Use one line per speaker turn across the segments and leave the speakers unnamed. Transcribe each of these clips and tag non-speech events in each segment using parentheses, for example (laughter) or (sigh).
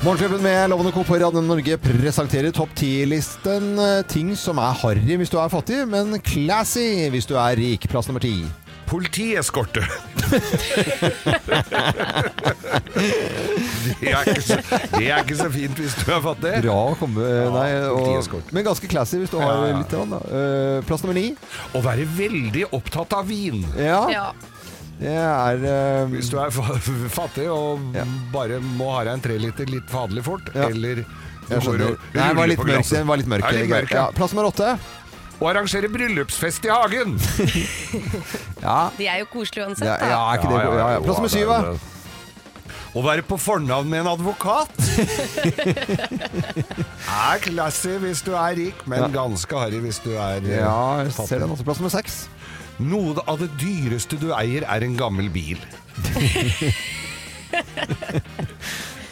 Morgenklubben med Lovende Co. på Radio Norge presenterer topp 10-listen. eh, Ting som er harry hvis du er fattig, men classy hvis du er rik. Plass nummer ti.
Politieskorte. det, er ikke så, det er ikke så fint hvis du er fattig.
Bra å komme eh, Nei, og,
politieskorte.
men ganske classy hvis du har
Ja, ja.
litt. grann, Da. Eh, Plass nummer ni.
Å være veldig opptatt av vin
Ja,
Ja.
det er eh,
hvis du er fa- fattig og
Ja.
bare må ha deg en treliter litt fadelig fort,
Ja.
eller du
Jeg
går
skjønner.
og
Nei, den var
ruller
litt
på
mørk.
glasset.
Den var litt mørk.
Ja, litt
Geir.
mørk,
ja.
ja.
Plass nummer åtte.
Å arrangere bryllupsfest i hagen!
Ja.
De er jo koselige uansett,
Ja,
da.
ja, er ikke det ja, ja. Plass nummer syv, da.
Å være på fornavn med
(laughs)
en advokat er classy hvis du er rik, men ganske harry hvis du er eh,
Ja, jeg
fattig.
ser den også. Plass nummer seks.
Noe av det dyreste du eier er en gammel bil.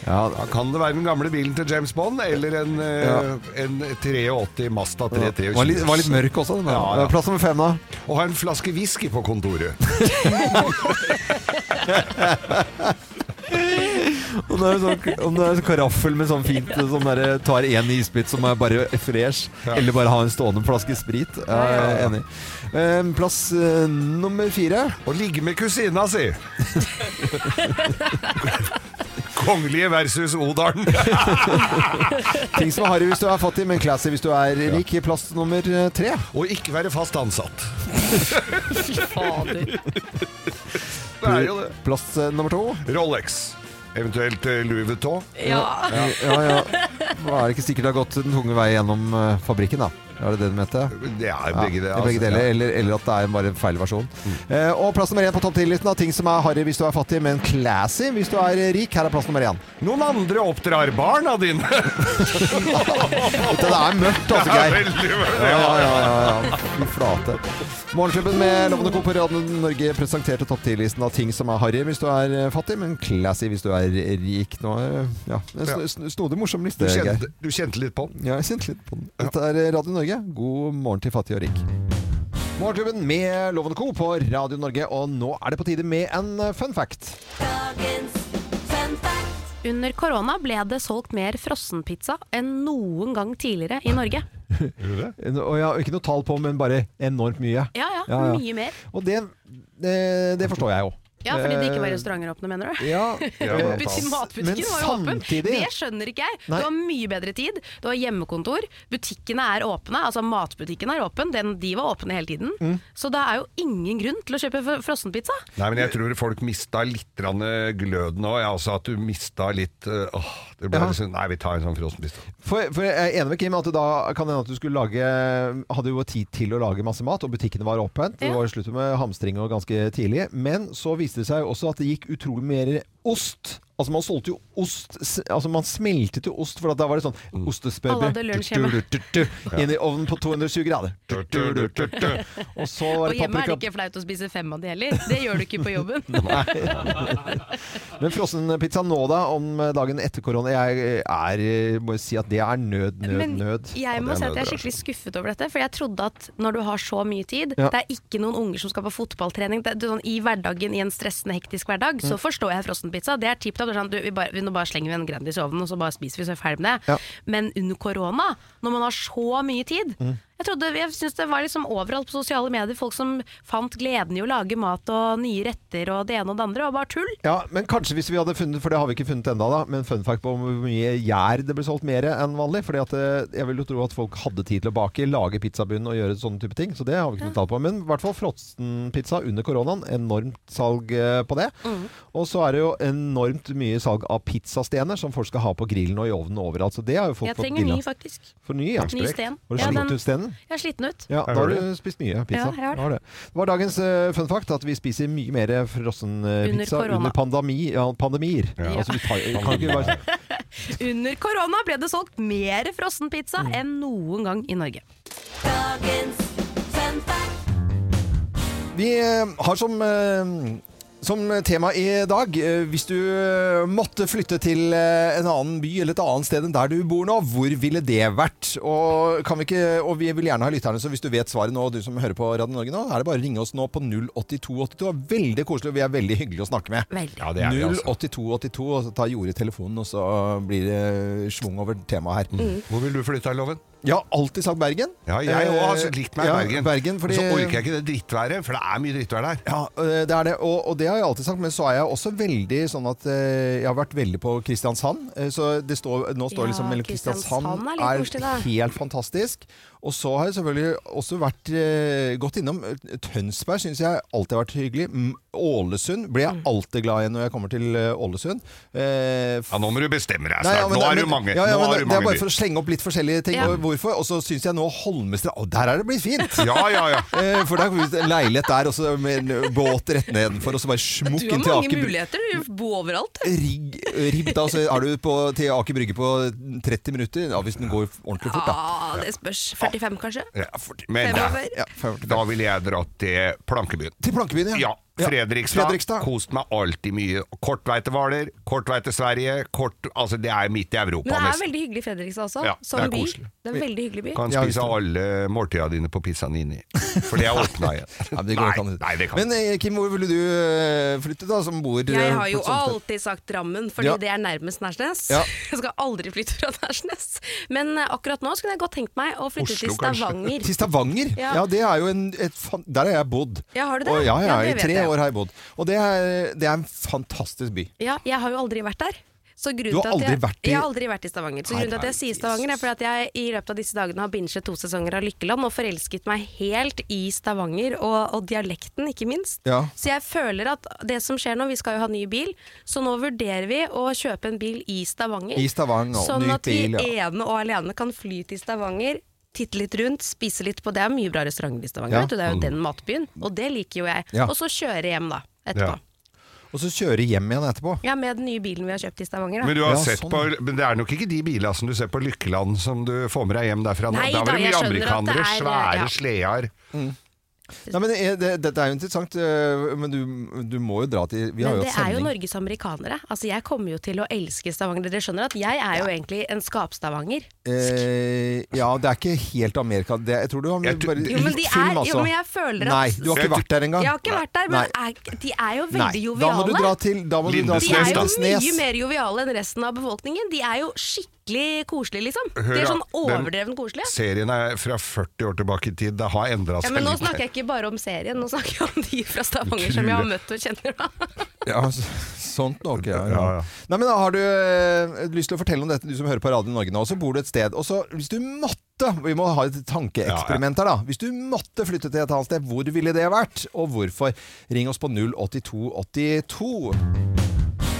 Ja,
Da kan det være den gamle bilen til James Bond, eller en, eh,
Ja.
en 83 Mazda
det var litt,
323.
var litt mørk også. Den der.
Ja, ja.
Plass nummer fem, da.
Å ha en flaske whisky på kontoret.
Om det er sånn, om det er sånn karaffel med sånn fint Som der, tar én isbit som er bare fresh,
Ja.
eller bare ha en stående flaske sprit. Ja, jeg er enig. Eh, Plass eh, nummer fire.
Å ligge med kusina
(laughs)
si. Kongelige versus Odalen.
Ting som er harry hvis du er fattig, men classy hvis du er rik. Plass nummer eh, tre.
Og ikke være fast ansatt.
Fy fader.
Det er jo det.
Plass eh, nummer to.
Rolex. Eventuelt eh, Louis Vuitton.
Ja.
Ja, ja. Nå er det ikke sikkert det har gått den tunge vei gjennom eh, fabrikken, da. Er det det du mente?
Det er
Ja,
begge, det,
i begge
altså.
deler, eller, eller at det er bare en feil versjon. Eh, og plass nummer én på topp 10-listen av ting som er harry hvis du er fattig, men classy hvis du er rik. Her er plass nummer én.
Noen andre oppdrar barna dine.
Dette er mørkt, altså,
Det er
Geir.
(laughs) veldig mørkt.
Ja, ja, ja, ja, ja. Fy flate. Morgenklubben med Lovende Co. på Radio Norge presenterte topp 10-listen av ting som er harry hvis du er eh, fattig, men classy hvis du er rik. Nå, eh, ja. En sn- sn- snodig, morsom
Du
liste, Geir.
kjente, du kjente litt på den.
Ja, jeg kjente litt på den. Dette er Radio Norge. God morgen til fattig og rik. Morgenklubben med Loven Co. på Radio Norge, og nå er det på tide med en eh, fun fact.
Under korona ble det solgt mer frossenpizza enn noen gang tidligere i Norge.
Og jeg har ikke noe tall på, men bare enormt mye.
Ja ja,
Ja, ja.
mye mer.
Og det, eh, det, det forstår jeg jo.
Ja, Fordi det ikke var
Eh,
restauranter åpne, mener du?
Ja,
blant
eh,
annet.
Buti-
Men
Matbutikken var jo åpen.
samtidig
Det skjønner ikke jeg.
Nei.
Du har mye bedre tid. Du har hjemmekontor. Butikkene er åpne. Altså Matbutikken er åpen. Den, de var åpne hele tiden.
Mm.
Så det er jo ingen grunn til å kjøpe fr- frossenpizza.
Nei, men jeg tror folk mista litt grann, eh, gløden òg. Ja, altså at du mista litt eh, Åh, det ble
Ja.
litt sånn Nei, vi tar en sånn frossenpizza.
for, for jeg er enig med Kim at det da kan det hende at du skulle lage Hadde jo tid til å lage masse mat, og butikkene var åpent. Det
Ja.
var slutt med hamstring og ganske tidlig. Men så viste det seg jo også at det gikk utrolig mer ost. Altså Man solgte jo ost s- Altså man smeltet jo ost, for at da var det sånn
Alle
ostespøbe
hadde lunsj
du- du- du- du- du, inn i ovnen på 220 grader. Du- du- du- du- du. Og så var
Og
det
hjemme er det
paprika.
ikke flaut å spise fem av de heller. Det gjør du ikke på jobben.
Men frossenpizza nå, da, om dagen etter korona Jeg er, må si at det er nød, nød,
Men
nød. altså.
jeg må
det er
si at jeg er
nødvendig.
skikkelig skuffet over dette. For jeg trodde at når du har så mye tid
Ja.
Det er ikke noen unger som skal på fotballtrening. Det, du, sånn, I hverdagen, i en stressende, hektisk hverdag, så forstår jeg frossenpizza. Det er tipp topp. Det er Sånn, du, vi bare, vi, nå bare slenger vi en Grandis i ovnen, og så bare spiser vi, så er vi ferdig med det.
Ja.
Men under korona, når man har så mye tid
Mm.
Jeg trodde, jeg synes det var liksom overalt på sosiale medier folk som fant gleden i å lage mat og nye retter og det ene og det andre, og bare tull.
Ja, men kanskje hvis vi hadde funnet, for det har vi ikke funnet enda da, men fun fact på hvor mye gjær det ble solgt mer enn vanlig, fordi at eh, jeg vil jo tro at folk hadde tid til å bake, lage pizzabunn og gjøre sånne type ting, så det har vi ikke noe tall på. Men i hvert fall frottenpizza under koronaen, enormt salg eh, på det.
Mm.
Og så er det jo enormt mye salg av pizzastener som folk skal ha på grillen og i ovnen overalt, så det har jo folk
Jeg
fått
trenger ny,
gilla.
faktisk.
For ny, ja.
Ny sten.
Var det
Ja,
slitt
den-
ut stenen?
Jeg er sliten ut.
Ja, da
har
har
du
du spist mye pizza.
Ja, jeg har det.
Da det. Det var dagens eh, fun fact at vi spiser mye mer frossen eh,
Under
pizza
korona.
under pandemi, ja, pandemier.
Ja.
Altså, vi tar, kan ikke bare,
Under korona ble det solgt mer frossenpizza enn noen gang i Norge.
vi eh, har som eh, Som tema i dag, eh, hvis du eh, måtte flytte til eh, en annen by eller et annet sted enn der du bor nå, hvor ville det vært? Og, kan vi ikke, og vi vil gjerne ha lytterne, så hvis du vet svaret nå, du som hører på Radio Norge nå, er det bare å ringe oss nå på 08282. Det er Veldig koselig, og vi er veldig hyggelige å snakke med.
Veldig.
Ja, det er vi, altså.
08282, og så tar Jore telefonen, og så blir det schwung over temaet
Mm.
her.
Hvor vil du flytte, Loven?
Jeg har alltid sagt Bergen.
Ja, jeg
Eh,
òg har så likt meg i
ja,
Bergen.
Bergen fordi,
Men Så orker jeg ikke det drittværet, for det er mye drittvær der.
Ja, øh, det er det, og, og det har jeg alltid sagt, men så er jeg også veldig sånn at øh, jeg har vært veldig på Kristiansand. øh, Så det står, nå står
Ja,
liksom mellom
Kristiansand
Kristiansand
er
er,
litt koselig, da.
helt fantastisk. Og så har jeg selvfølgelig også vært øh, gått innom øh, Tønsberg, syns jeg alltid har vært hyggelig. Mm, Ålesund blir
Mm.
jeg alltid glad i når jeg kommer til øh, Ålesund. Eh, f-
Ja, nå må du bestemme deg
Nei,
snart.
ja, men
nå
det-
har
men-
du mange.
Ja, ja,
nå
men
har
det,
du
det er
mange
bare for å slenge opp litt forskjellige ting.
Ja.
Og hvorfor, og så syns jeg nå Holmestrand Å, der er det blitt fint!
dyr. (laughs) Ja, ja, ja.
Eh, For det er faktisk en leilighet der, og så med en båt rett nedenfor, og så bare smukk
Du har
inn til
mange
Aker Brygge.
muligheter. Du bor overalt.
Rigg, ribb, da, så er du på, til Aker Brygge på 30 minutter. Ja, hvis den går ordentlig fort, da.
Ja, det spørs.
45, kanskje?
ja. Men da,
Fremover.
Ja, 45.
da ville jeg dratt til Plankebyen.
Til Plankebyen, ja.
Ja, Fredrikstad.
Fredrikstad.
Kost meg alltid mye. Kort vei til Hvaler, kort vei til Sverige. Kort, altså det er midt i Europa,
Men det er
nesten.
veldig hyggelig i Fredrikstad også.
Ja, det
som
er
by.
koselig.
Det er en veldig hyggelig by.
Kan
Ja, visst
spise
det.
alle måltida dine på Pisanini. For det er
(laughs)
åpna igjen.
Nei, men det går ikke an.
nei, det kan
Men eh, Kim, hvor ville du eh, flytte, da? Som bor eh,
Jeg har
på et
jo
sånt sted?
alltid sagt Drammen, fordi
Ja.
det er nærmest Nærsnes.
Ja.
(laughs) Jeg skal aldri flytte fra Nærsnes. Men eh, akkurat nå så kunne jeg godt tenkt meg å flytte
Oslo,
til
(laughs)
kanskje.
Stavanger.
Til Stavanger? Ja.
Ja.
det er jo en et, fan- Der har jeg bodd.
Ja, har du det?
Og, ja, ja,
Ja, det
I
vet
tre
jeg.
år har jeg bodd. Og det er, det er en fantastisk by.
Ja, jeg har jo aldri vært der. Så grunnen
Du har
til at
aldri
jeg,
vært i-
Jeg har aldri vært i Stavanger. Så grunnen til at jeg
Herregud,
sier Stavanger, er fordi at jeg i løpet av disse dagene har binget to sesonger av Lykkeland og forelsket meg helt i Stavanger, og, og dialekten, ikke minst.
Ja.
Så jeg føler at det som skjer nå, vi skal jo ha ny bil, så nå vurderer vi å kjøpe en bil i Stavanger.
I Stavanger, og
sånn
ny
at vi
bil, ja.
ene og alene kan fly til Stavanger. Titte litt rundt, spise litt på Det er mye bra restauranter i Stavanger.
Ja. Mm.
Vet du, det er jo den matbyen, og det liker jo jeg.
Ja.
Og så kjøre hjem, da. Etterpå.
Ja.
Og så kjøre hjem igjen etterpå.
Ja, med den nye bilen vi har kjøpt i Stavanger.
Men,
Da.
du har
Ja,
sett
sånn.
på, men det er nok ikke de bilene som du ser på Lykkeland som du får med deg hjem derfra. nå.
Nei
da
da,
var det
jeg
mye
skjønner at det
amerikanere,
er- eh,
svære
ja.
sleder.
Nei, men det, det, Dette er jo interessant, øh, men du, du må jo dra til Vi har
Men
jo
det
hatt
er jo
sending.
Norges amerikanere. Altså, jeg kommer jo til å elske Stavanger. Dere skjønner at jeg er jo egentlig en skapstavanger.
Eh, ja, det er ikke helt Amerika. Det, jeg tror du har
Jeg tror-
bare
Jo,
Jo, men,
litt
de
film,
er,
altså.
jo, men jeg føler at
Nei, du har
Jeg
ikke
tror-
vært der engang.
Jeg har ikke vært der,
Nei.
men er, de er jo
Nei.
veldig
Da må du dra
joviale.
til da må du dra til
De er jo
Lindesnes.
mye mer joviale enn resten av befolkningen. De er jo skikkelig koselige, liksom. De
Hør
er
da,
sånn
den-
overdreven koselige.
Serien er fra 40 år tilbake i tid. Det har endra seg
Ja, men nå
litt.
snakker jeg ikke bare om serien, nå snakker jeg om de fra Stavanger som jeg har møtt og kjenner. Da.
Ja, så- sånt nok, ja, ja.
Ja, ja.
Nei, men da har du øh, lyst til å fortelle om dette, du som hører på Radio Norge nå. Så bor du et sted. Og så, hvis du måtte Vi må ha et tankeeksperiment her, da. Hvis du måtte flytte til et annet sted, hvor ville det vært? Og hvorfor? Ring oss på 08282.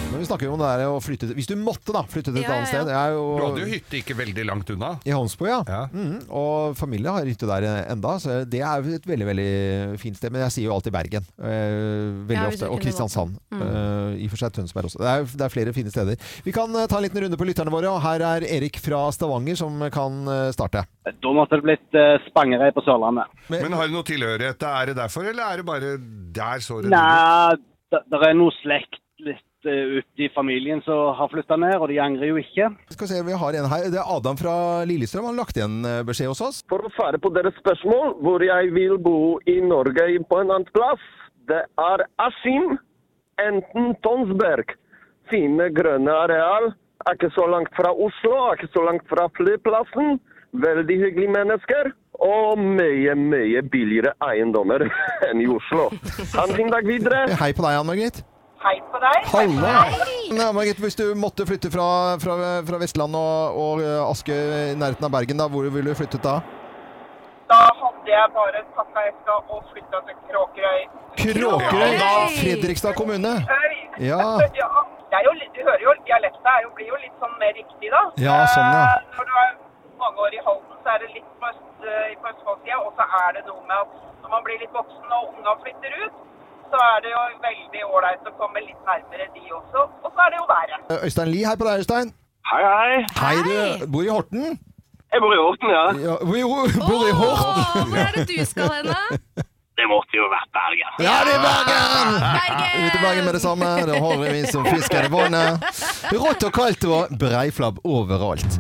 Men vi snakker jo om det der å flytte til Hvis du måtte, da, flytte til et
Ja, ja,
annet
ja.
sted. Det er jo
Du hadde jo hytte ikke veldig langt unna.
I Holmsbo, ja.
Ja.
Mhm, og familie har hytte der eh, enda, så det er jo et veldig veldig fint sted. Men jeg sier jo alltid Bergen. eh, veldig
Ja, hvis
ofte.
du
Og
kunne Mm.
Kristiansand. eh, I og for seg Tønsberg også. Det er, det er flere fine steder. Vi kan eh, ta en liten runde på lytterne våre, og her er Erik fra Stavanger som kan eh, starte.
Da måtte det blitt eh, Spangereid på Sørlandet.
Men har du noe tilhørighet? Er det derfor, eller er det bare der så det
Nei, det er noe slekt litt eh, ute i familien som har flytta ned, og de angrer jo ikke.
Skal se, vi har en her. Det er Adam fra Lillestrøm. Han har lagt igjen eh, beskjed hos oss.
For å svare på deres spørsmål, hvor jeg vil bo i Norge på en annen plass, det er Askim, enten Tonsberg. Fine grønne areal, er ikke så langt fra Oslo, er ikke så langt fra flyplassen. Veldig hyggelige mennesker, og mye, mye billigere eiendommer (laughs) enn i Oslo. Ha en fin dag videre!
Hei på deg, Ann Margrit.
Hei på deg.
Halla! Ann Margrit, hvis du måtte flytte fra, fra, fra Vestland og, og eh, Aske i nærheten av Bergen, da, hvor ville du flyttet da?
Da hadde jeg bare pakka eska og flytta til Kråkerøy.
Kråkerøy!
da-
Fredrikstad kommune. Ja.
(laughs) ja. Det er jo, litt- du hører jo dialekta er jo, blir jo litt sånn mer riktig, da.
Ja, sånn, ja.
Eh, Når du er mange år i Halden, så er det litt på, øst, eh, på østfoldsida. Og så er det noe med at når man blir litt voksen og unga flytter ut, så er det jo veldig ålreit å komme litt nærmere de også. Og så er det jo været.
Eh, Øystein Lie, hei på deg, Øystein.
Hei, hei!
Hei, du bor i Horten.
Jeg bor i Horten, ja.
Ja, vi jo bor i Horten.
Åh, hvor er det du skal hen, da?
Det måtte jo vært Bergen.
Ja, det er Bergen!
Bergen!
Ut i Bergen med det samme. Da holder vi som fisken i vannet. Rått og kaldt og breiflabb overalt.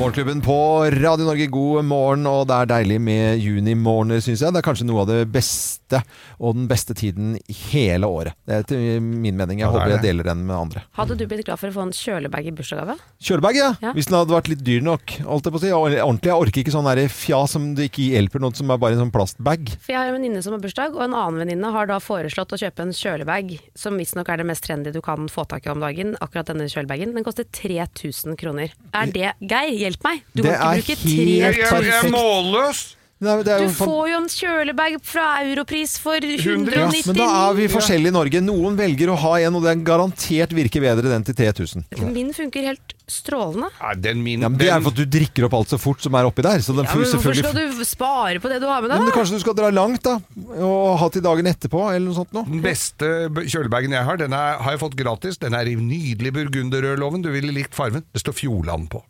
Morgenklubben på Radio Norge, god morgen. Og det er deilig med junimorgener, syns jeg. Det er kanskje noe av det beste, og den beste tiden i hele året. Det er til min mening. Jeg
Ja, det er
håper jeg
det.
deler den med andre.
Hadde du blitt glad for å få en kjølebag i bursdagsgave?
Kjølebag, ja.
Ja.
Hvis den hadde vært litt dyr nok. Holdt jeg på å si. Ja, Ordentlig. Jeg orker ikke sånn der fjas som det ikke hjelper noe, som er bare en sånn plastbag.
For jeg har en venninne som har bursdag, og en annen venninne har da foreslått å kjøpe en kjølebag, som visstnok er det mest trendy du kan få tak i om dagen, akkurat denne kjølebagen. Den koster 3000 kroner. Er det Geir, hjelp meg! Du
Det
kan
er
ikke bruke
helt
3000
Jeg, jeg er målløs!
Nei, men det er
Du
jo fan-
får jo en kjølebag fra Europris for
Ja, men da er
199!
vi forskjellige i Norge. Noen velger å ha en, og den garantert virker bedre den til 3000.
Min funker helt strålende.
Nei, den min
Ja, men det er for at du drikker opp alt så fort som er oppi der. Så den
Ja,
får
men hvorfor
selvfølgelig
skal du spare på det du har med
Ja,
deg,
men
da?
Kanskje du skal dra langt, da, og ha til dagen etterpå, eller noe sånt noe.
Den beste b- kjølebagen jeg har, den er, har jeg fått gratis. Den er i nydelig burgunderrødloven. Du ville likt farven. Det står Fjordland på.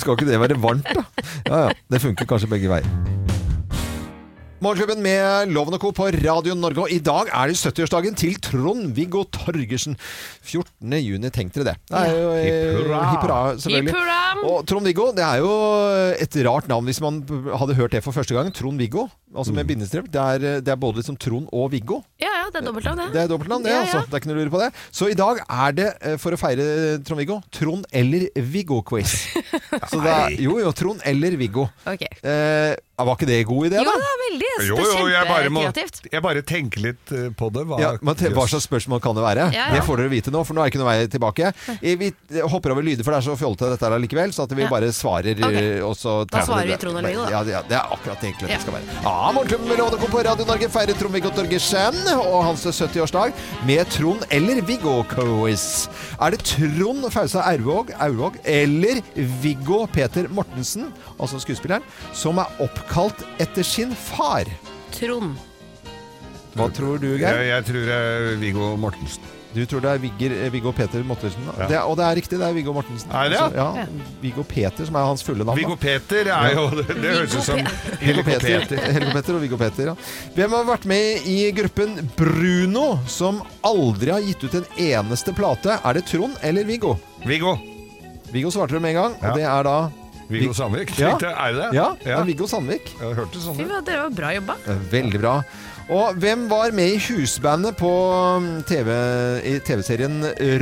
Skal ikke det være varmt, da? Ja, ja. Det funker kanskje begge veier. Morgenklubben med Loven og Co. på Radio Norge. Og i dag er det 70-årsdagen til Trond-Viggo Torgersen. 14. juni, tenk dere det. det er jo, eh,
Hipp hurra.
Hipp hurra, selvfølgelig.
Hipp hurra.
Og Trond-Viggo, det er jo et rart navn hvis man hadde hørt det for første gang. Trond-Viggo, altså
Mm.
med bindestrek. Det er, det er både liksom Trond og Viggo.
Ja, ja, det er dobbeltnavn, det.
Det er dobbeltnavn, det.
Ja, ja.
altså. Det er ikke noe å lure på det. Så i dag er det, eh, for å feire Trond-Viggo, Trond eller
(laughs)
Viggo-quiz. Så det er, jo, jo, Trond eller Viggo.
Ok.
Eh, var ikke det en god idé, da?
Jo, (laughs) det er veldig
Jo, jo, jeg bare, må,
kjempekreativt.
jeg bare tenker litt eh, på det. Hva,
Ja, men te- hva slags spørsmål kan det være?
Ja, ja.
Det får dere vite nå, for nå er det ikke noe vei tilbake. Eh, Vi hopper over lyder, for det er så fjollete dette her likevel, så at vi
Ja.
bare svarer
Ok.
eh, og så
Da
tar
svarer
det.
vi Trond og Viggo, da.
Ja, det- ja, det er akkurat egentlig det
Ja.
det skal være. Ja, Morgenklubben med Lovende Co. på Radio Norge feirer Trond-Viggo Torgersen og hans 70-årsdag med Trond eller Viggo-quiz. Er det Trond Fausa Aurvåg, Aurvåg eller Viggo Peter Mortensen, altså skuespilleren, som er oppkalt etter sin far?
Trond.
Hva tror du, Geir?
Jeg, jeg tror det er Viggo Mortensen.
Du tror det er Vigger, eh, Viggo Peter Mortensen? da?
Ja.
Det er, og det er riktig, det er Viggo Mortensen.
Er det?
Altså, ja. Viggo Peter, som er hans fulle navn. da.
Viggo Peter er jo (laughs) Det, det høres ut som
Viggo Peter. Helge Peter og Viggo Peter, ja. Hvem har vært med i gruppen Bruno, som aldri har gitt ut en eneste plate? Er det Trond eller Viggo?
Viggo.
Viggo svarte det med en gang,
Ja.
og det er da
Viggo Sandvik.
Ja.
Tenkte jeg, Er det det?
Ja, det er Viggo Sandvik.
Jeg hørte sånn
Fy,
ut.
det var bra jobba.
Eh, Veldig bra. Og hvem var med i husbandet på mm, TV, i TV-serien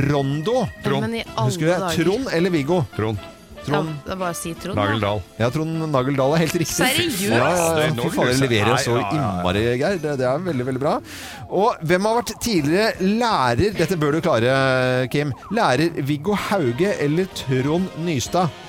Rondo?
Trond.
Men i alle
Husker du det?
dager.
Trond eller Viggo?
Trond
Trond.
Ja, det er bare å si Trond. da.
Nagel Dahl.
Ja, Trond Nageldal er helt riktig.
Seriøst?
Ja, ja, ja.
Det er
Fy fader,
Norge,
leverer så
altså. Nei, ja, ja, ja.
innmari, Geir. Det, det er veldig, veldig bra. Og hvem har vært tidligere lærer Dette bør du klare, Kim. Lærer Viggo Hauge eller Trond Nystad?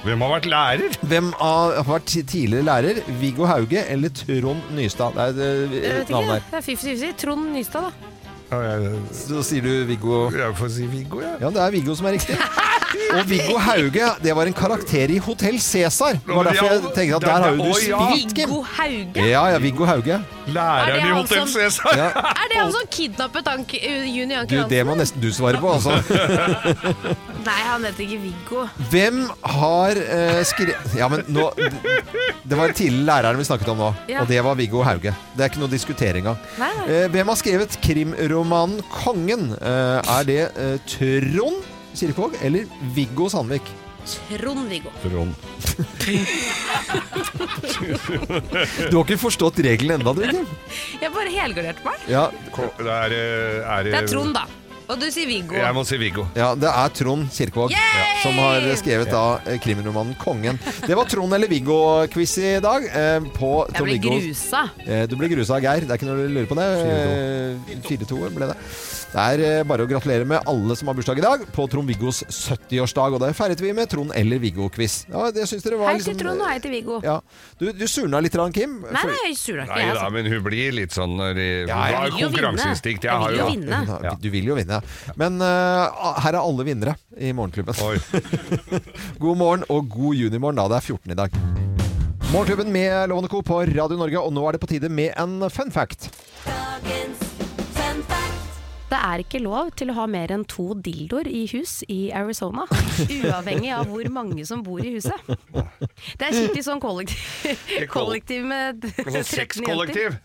Hvem har vært lærer?
Hvem har vært tidligere lærer? Viggo Hauge eller Trond Nystad? Det er
Jeg
et
vet
eh, navn
ikke,
der.
det er fifty-fifty. Trond Nystad, da.
Ja, jeg,
Så sier du Viggo
jeg får si Viggo, jeg.
Ja, det er Viggo som er riktig. Og Viggo Hauge, det var en karakter i Hotell Cæsar. Det var derfor jeg tenkte at der har jo du
Å, ja.
spilt, Kim.
Viggo Hauge.
Ja, ja, Viggo Hauge.
Er det
Læreren i
han
Hotell
som-
Cæsar.
Ja.
Er det han som kidnappet han, K- Juni Anker
Du, det
Hansen?
må nesten du svare på, altså.
Nei, han heter ikke Viggo.
Hvem har eh, skrevet Ja, men nå Det var den tidligere læreren vi snakket om nå,
Ja.
og det var Viggo Hauge. Det er ikke noe å diskutere engang.
Nei, nei.
Eh, hvem har skrevet krimromanen 'Kongen'? Eh, er det eh, Trond Kirkvaag eller Viggo Sandvik?
Trond-Viggo.
Trond.
Du har ikke forstått regelen enda, du, Kim.
Jeg bare helgarderte meg.
Ja,
Ko- Det er, eh, er,
Det er Trond, da. Og du sier Viggo.
Jeg må si Viggo.
ja, det er Trond Kirkvaag
Yay!
som har skrevet da eh, krimromanen 'Kongen'. Det var Trond eller Viggo-quiz i dag. Eh, på
Jeg ble
Trond-Viggo
grusa.
Eh, Du ble grusa av Geir, det er ikke noe å lure på det. Eh, 4-2 ble det. Det er eh, bare å gratulere med alle som har bursdag i dag på Trond-Viggos 70-årsdag. Og det feiret vi med Trond eller Viggo-quiz. Ja, det syns dere var liksom, eh,
Hei til Trond og hei til Viggo.
ja. Du, du surna litt, grann, Kim.
Nei,
For-
nei, jeg surer ikke,
Nei
jeg.
da,
Altså.
men hun blir litt sånn når de,
Ja, jeg
Hun har
vil jo
konkurranseinstinkt.
vinne.
Jeg har
Jeg vil
jo
jo vinne.
Ja, Du vil jo vinne. Men eh, her er alle vinnere i Morgenklubben.
(laughs)
Oi.
(laughs) God morgen og god junimorgen, da det er 14 i dag. Morgenklubben med Lovende Co. på Radio Norge, og nå er det på tide med en fun fact.
Det er ikke lov til å ha mer enn to dildoer i hus i Arizona. Uavhengig av hvor mange som bor i huset. Det er kjipt i sånn kollektiv, kollektiv med
Altså
13 jenter
sexkollektiv.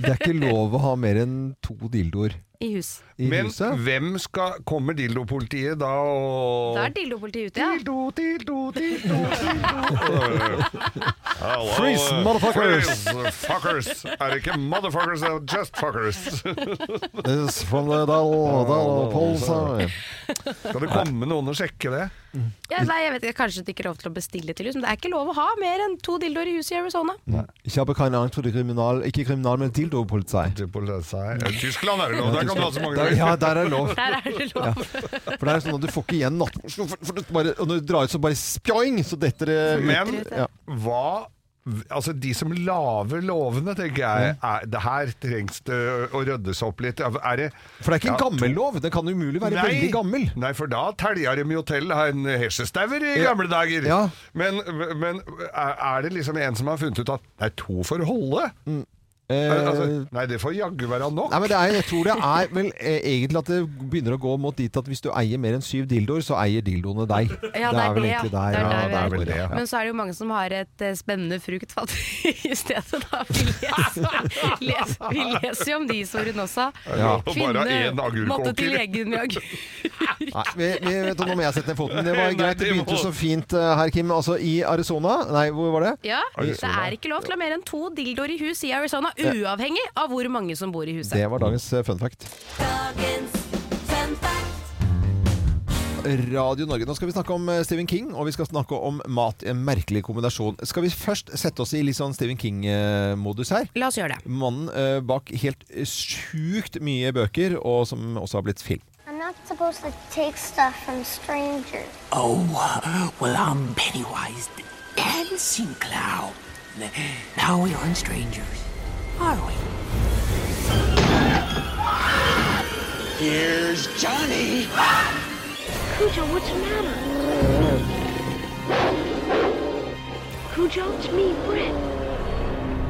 Det er ikke lov å ha mer enn to dildoer
i hus.
i
Men
huset.
hvem skal Kommer dildopolitiet da og
Da er dildopolitiet ute, ja.
Dildo, dildo, dildo, dildo. Hello,
Freeze,
eh,
motherfuckers.
freeze, fuckers. Er det ikke motherfuckers, det er just fuckers.
It's from the Dal- Dal- Pole Side.
Skal det komme noen og sjekke det?
ja nei, jeg vet ikke, Kanskje det ikke er lov til å bestille til hus, men det er ikke lov å ha mer enn to dildoer i huset i Arizona.
Ich habe keine Angst for det kriminal... Ikke kriminal, men dildopoliti.
Til politi- Eh, Tyskland er det lov, der kan du ha så mange
Der,
du
ja,
vil.
der er lov.
Der er det lov.
For det er sånn at du får ikke igjen natt... For, for det bare, og når du drar ut, så bare spjoing, så detter det
Men
Ja.
hva Altså De som lager lovene, tenker
Mm.
jeg er, Det her trengs det å ryddes opp litt. Er det
For det er ikke en
Ja,
gammel lov. Den kan umulig være veldig gammel.
Nei, for da telja de jo til en hesjestauer i gamle dager.
Ja.
Men, men er er det liksom en som har funnet ut at det er to for holde?
Eh,
Altså, nei, det får jaggu være nok.
Nei, men det er, Jeg tror det er vel eh, egentlig at det begynner å gå mot dit at hvis du eier mer enn syv dildoer, så eier dildoene deg.
Ja, det er
vel
det, ja.
egentlig
Det
der.
er
ja,
der vi
det
er.
er vel det, ja.
Men så er det jo mange som har et eh, spennende frukt (laughs) i stedet. Da. Vi, leser, les, vi leser jo om de historiene også.
Ja.
Og bare én
måtte
agurkåker.
til legen med agurk. (laughs)
Nei, vi, vi, vet du, nå må jeg sette ned foten. Det var
Nei,
greit. Det
det må-
begynte så fint eh, her, Kim. Altså i Arizona Nei, hvor var det?
Ja, det er ikke lov til å ha mer enn to dildoer i hus i Arizona, uavhengig av hvor mange som bor i huset.
Det var dagens eh, fun fact. Radio Norge. Nå skal vi snakke om eh, Stephen King, og vi skal snakke om mat. En merkelig kombinasjon. Skal vi først sette oss i litt sånn Stephen King-modus her?
La oss gjøre det.
Mannen eh, bak helt sjukt mye bøker, og som også har blitt film.
I'm not supposed to take stuff from strangers.
Oh, well, I'm Pennywise the Dancing Clown. Now we aren't strangers, are we? Here's Johnny.
Cujo, what's the matter? Cujo, it's me, Brett.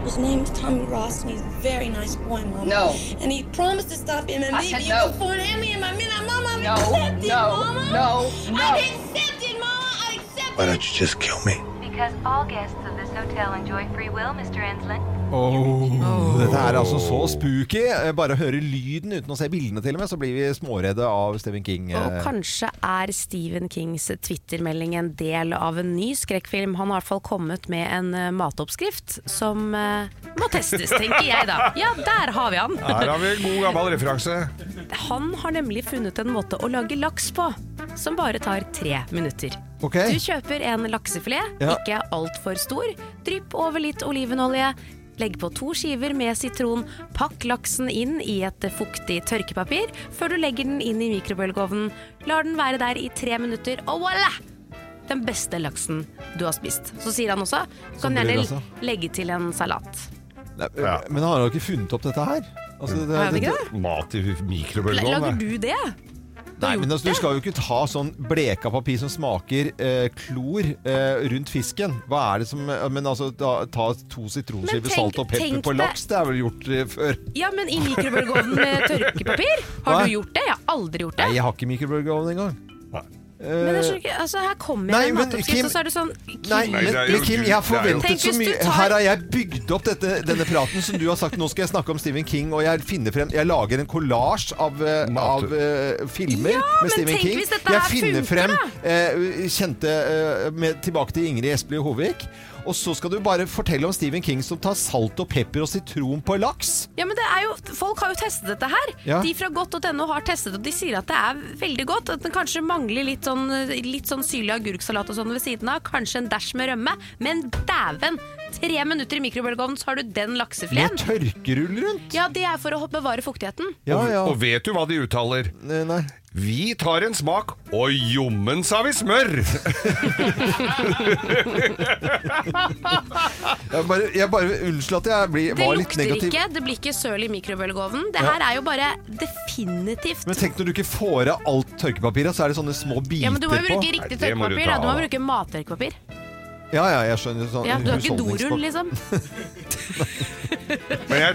His name's Tommy Ross, and he's a very nice boy, Mom. No. And he promised to stop being my
I
baby.
said
you
no.
can afford him, and my minute, Mama. I'm
No,
accepted,
no,
Mama.
no,
I'm accepted, Mama. I accepted.
Why don't you just kill me?
Because all guests of this hotel enjoy free will, Mr. Enslin.
Dette er altså så spooky. Eh, Bare å høre lyden uten å se bildene, til og med, så blir vi småredde av Stephen King. eh.
Og kanskje er Stephen Kings twittermelding en del av en ny skrekkfilm. Han har i hvert fall kommet med en eh, matoppskrift som eh, må testes, tenker jeg da. Ja, der har vi han!
Her har vi en god gammel referanse.
Han har nemlig funnet en måte å lage laks på som bare tar tre minutter.
Ok.
Du kjøper en laksefilet,
Ja.
ikke altfor stor. Drypp over litt olivenolje. Legg på to skiver med sitron. Pakk laksen inn i et fuktig tørkepapir før du legger den inn i mikrobølgeovnen. Lar den være der i tre minutter, og voilà! Den beste laksen du har spist. Så sier han også, du kan
blir det
gjerne
altså.
legge til en salat.
Nei, eh, Men han har jo ikke funnet opp dette her. Altså, det,
Har han ikke
dette-
det?
Mat i
Lager
mikrobølgeovn.
du det?
Nei, men altså, du skal jo ikke ta sånn bleka papir som smaker eh, klor eh, rundt fisken. Hva er det som eh, Men altså, ta, ta to
Men
sitronskiver
tenk-
salt og pepper
tenk
på
deg-
laks, det er vel gjort eh, før?
Ja, men i mikrobølgeovnen
(laughs)
med tørkepapir? Har
Hva?
du gjort det? Jeg har aldri gjort det.
Nei, jeg har ikke mikrobølgeovn engang.
Men jeg skjønner ikke, altså her kommer
Nei,
jeg med en
men
matoppskrift,
Kim-
og så er det sånn
Nei,
Nei, det er
men,
jo-
men Kim, jeg har
det er jo-
forventet
Tenk
så
hvis du
mye.
tar-
Her har jeg bygd opp dette, denne praten som du har sagt. Nå skal jeg snakke om Stephen King, og jeg finner frem Jeg lager en kollasj av, eh,
Mat.
av eh, filmer
Ja, men
med Stephen
tenk
King.
hvis dette
Jeg
her
finner
funker,
frem eh, kjente eh, med, Tilbake til Ingrid Espelid Hovig. Og så skal du bare fortelle om Stephen King som tar salt og pepper og sitron på laks.
Ja, men det er jo, Folk har jo testet dette her.
Ja.
De fra godt.no har testet det, og de sier at det er veldig godt. At den kanskje mangler litt sånn, litt sånn syrlig agurksalat og sånn ved siden av. Kanskje en dæsj med rømme. Men dæven! Tre minutter i mikrobølgeovnen, så har du den
Med
laksefileten.
tørkerull rundt.
Ja, det er for å ho- bevare fuktigheten.
Ja, ja.
Og vet du hva de uttaler?
Eh, Nei.
Vi tar en smak, og jommen sa vi smør! (laughs)
Jeg bare, jeg bare Unnskyld at jeg blir,
Det
var litt
lukter
negativ.
ikke, det blir ikke søl i mikrobølgeovnen. Det her er jo bare definitivt
Men tenk når du ikke får av alt tørkepapiret, så er det sånne små biter
ja, men Du må jo
på.
bruke riktig
Nei, det må du
tørkepapir.
ta
da. Du må
av.
bruke mattørkepapir.
Ja, ja, jeg skjønner. Sånn
Ja, du har ikke
husholdningspak-
dorull, liksom.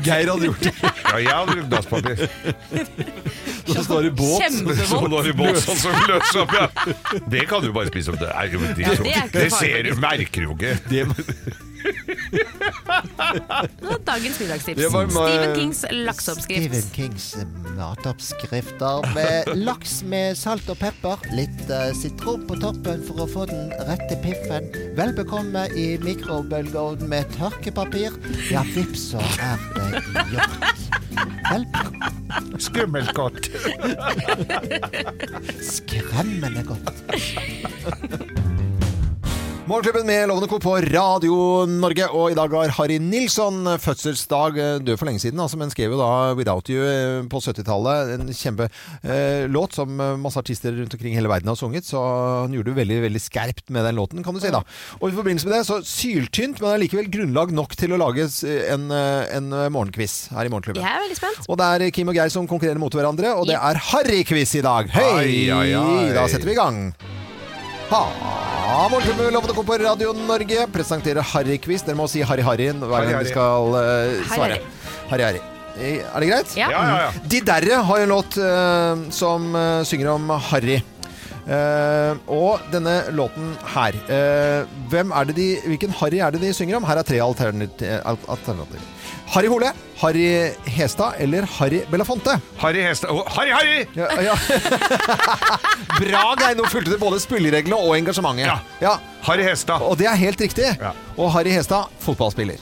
Geir hadde gjort det.
Ja, jeg hadde brukt
(laughs)
dasspapir.
liksom.
Så står det båt.
Kjempevondt.
(laughs)
Så står det båt, sånn som løser opp, ja. Det kan du bare spise opp. Det, er jo, det,
Ja, det er ikke
det
noe farlig.
ser du, merker du jo ikke.
Det var dagens middagstips.
Det var meg-
Stephen Kings lakseoppskrift.
Stephen Kings eh, matoppskrifter med laks med salt og pepper. Litt eh, sitron på toppen for å få den rette piffen. Vel bekomme i mikrobølgeovnen med tørkepapir. Ja, vips, så er det gjort.
Skummelt godt.
Skremmende godt.
(laughs) Morgenklubben med Lovende Co. på Radio Norge, og i dag har Harry Nilsson fødselsdag. Eh, Død for lenge siden, altså, men skrev jo da 'Without You' eh, på 70-tallet. En kjempelåt som eh, masse artister rundt omkring hele verden har sunget, så han gjorde det veldig veldig skerpt med den låten, kan du si. da. Og i forbindelse med det, så syltynt, men allikevel grunnlag nok til å lage s- en, eh, en morgenquiz her i Morgenklubben.
Jeg er veldig spent.
Og det er Kim og Geir som konkurrerer mot hverandre, og det er Harry-quiz i dag. Hei!
Ai, ai, ai.
Da setter vi i gang. Ha, Morgenklubben med Lovende Co. på Radio Norge presenterer Harry-quiz. Dere må si Harry Harry hver
Harry,
gang
Harry.
vi skal eh,
Harry,
svare.
Harry.
Harry Harry. Eh, Er det greit?
Ja. Ja, ja, ja.
De Derre har en låt eh, som eh, synger om Harry. Eh, og denne låten her eh, hvem er det de, Hvilken Harry er det de synger om? Her er tre alternat- eh, al- alternativer. Harry Hole, Harry Hestad eller Harry Belafonte?
Harry Hestad Å, Harry, Harry!
Ja, ja. (laughs) Bra, Geir. Nå fulgte du både spillereglene og engasjementet. Ja.
Harry Hestad.
Og det er helt riktig. Og Harry Hestad, fotballspiller.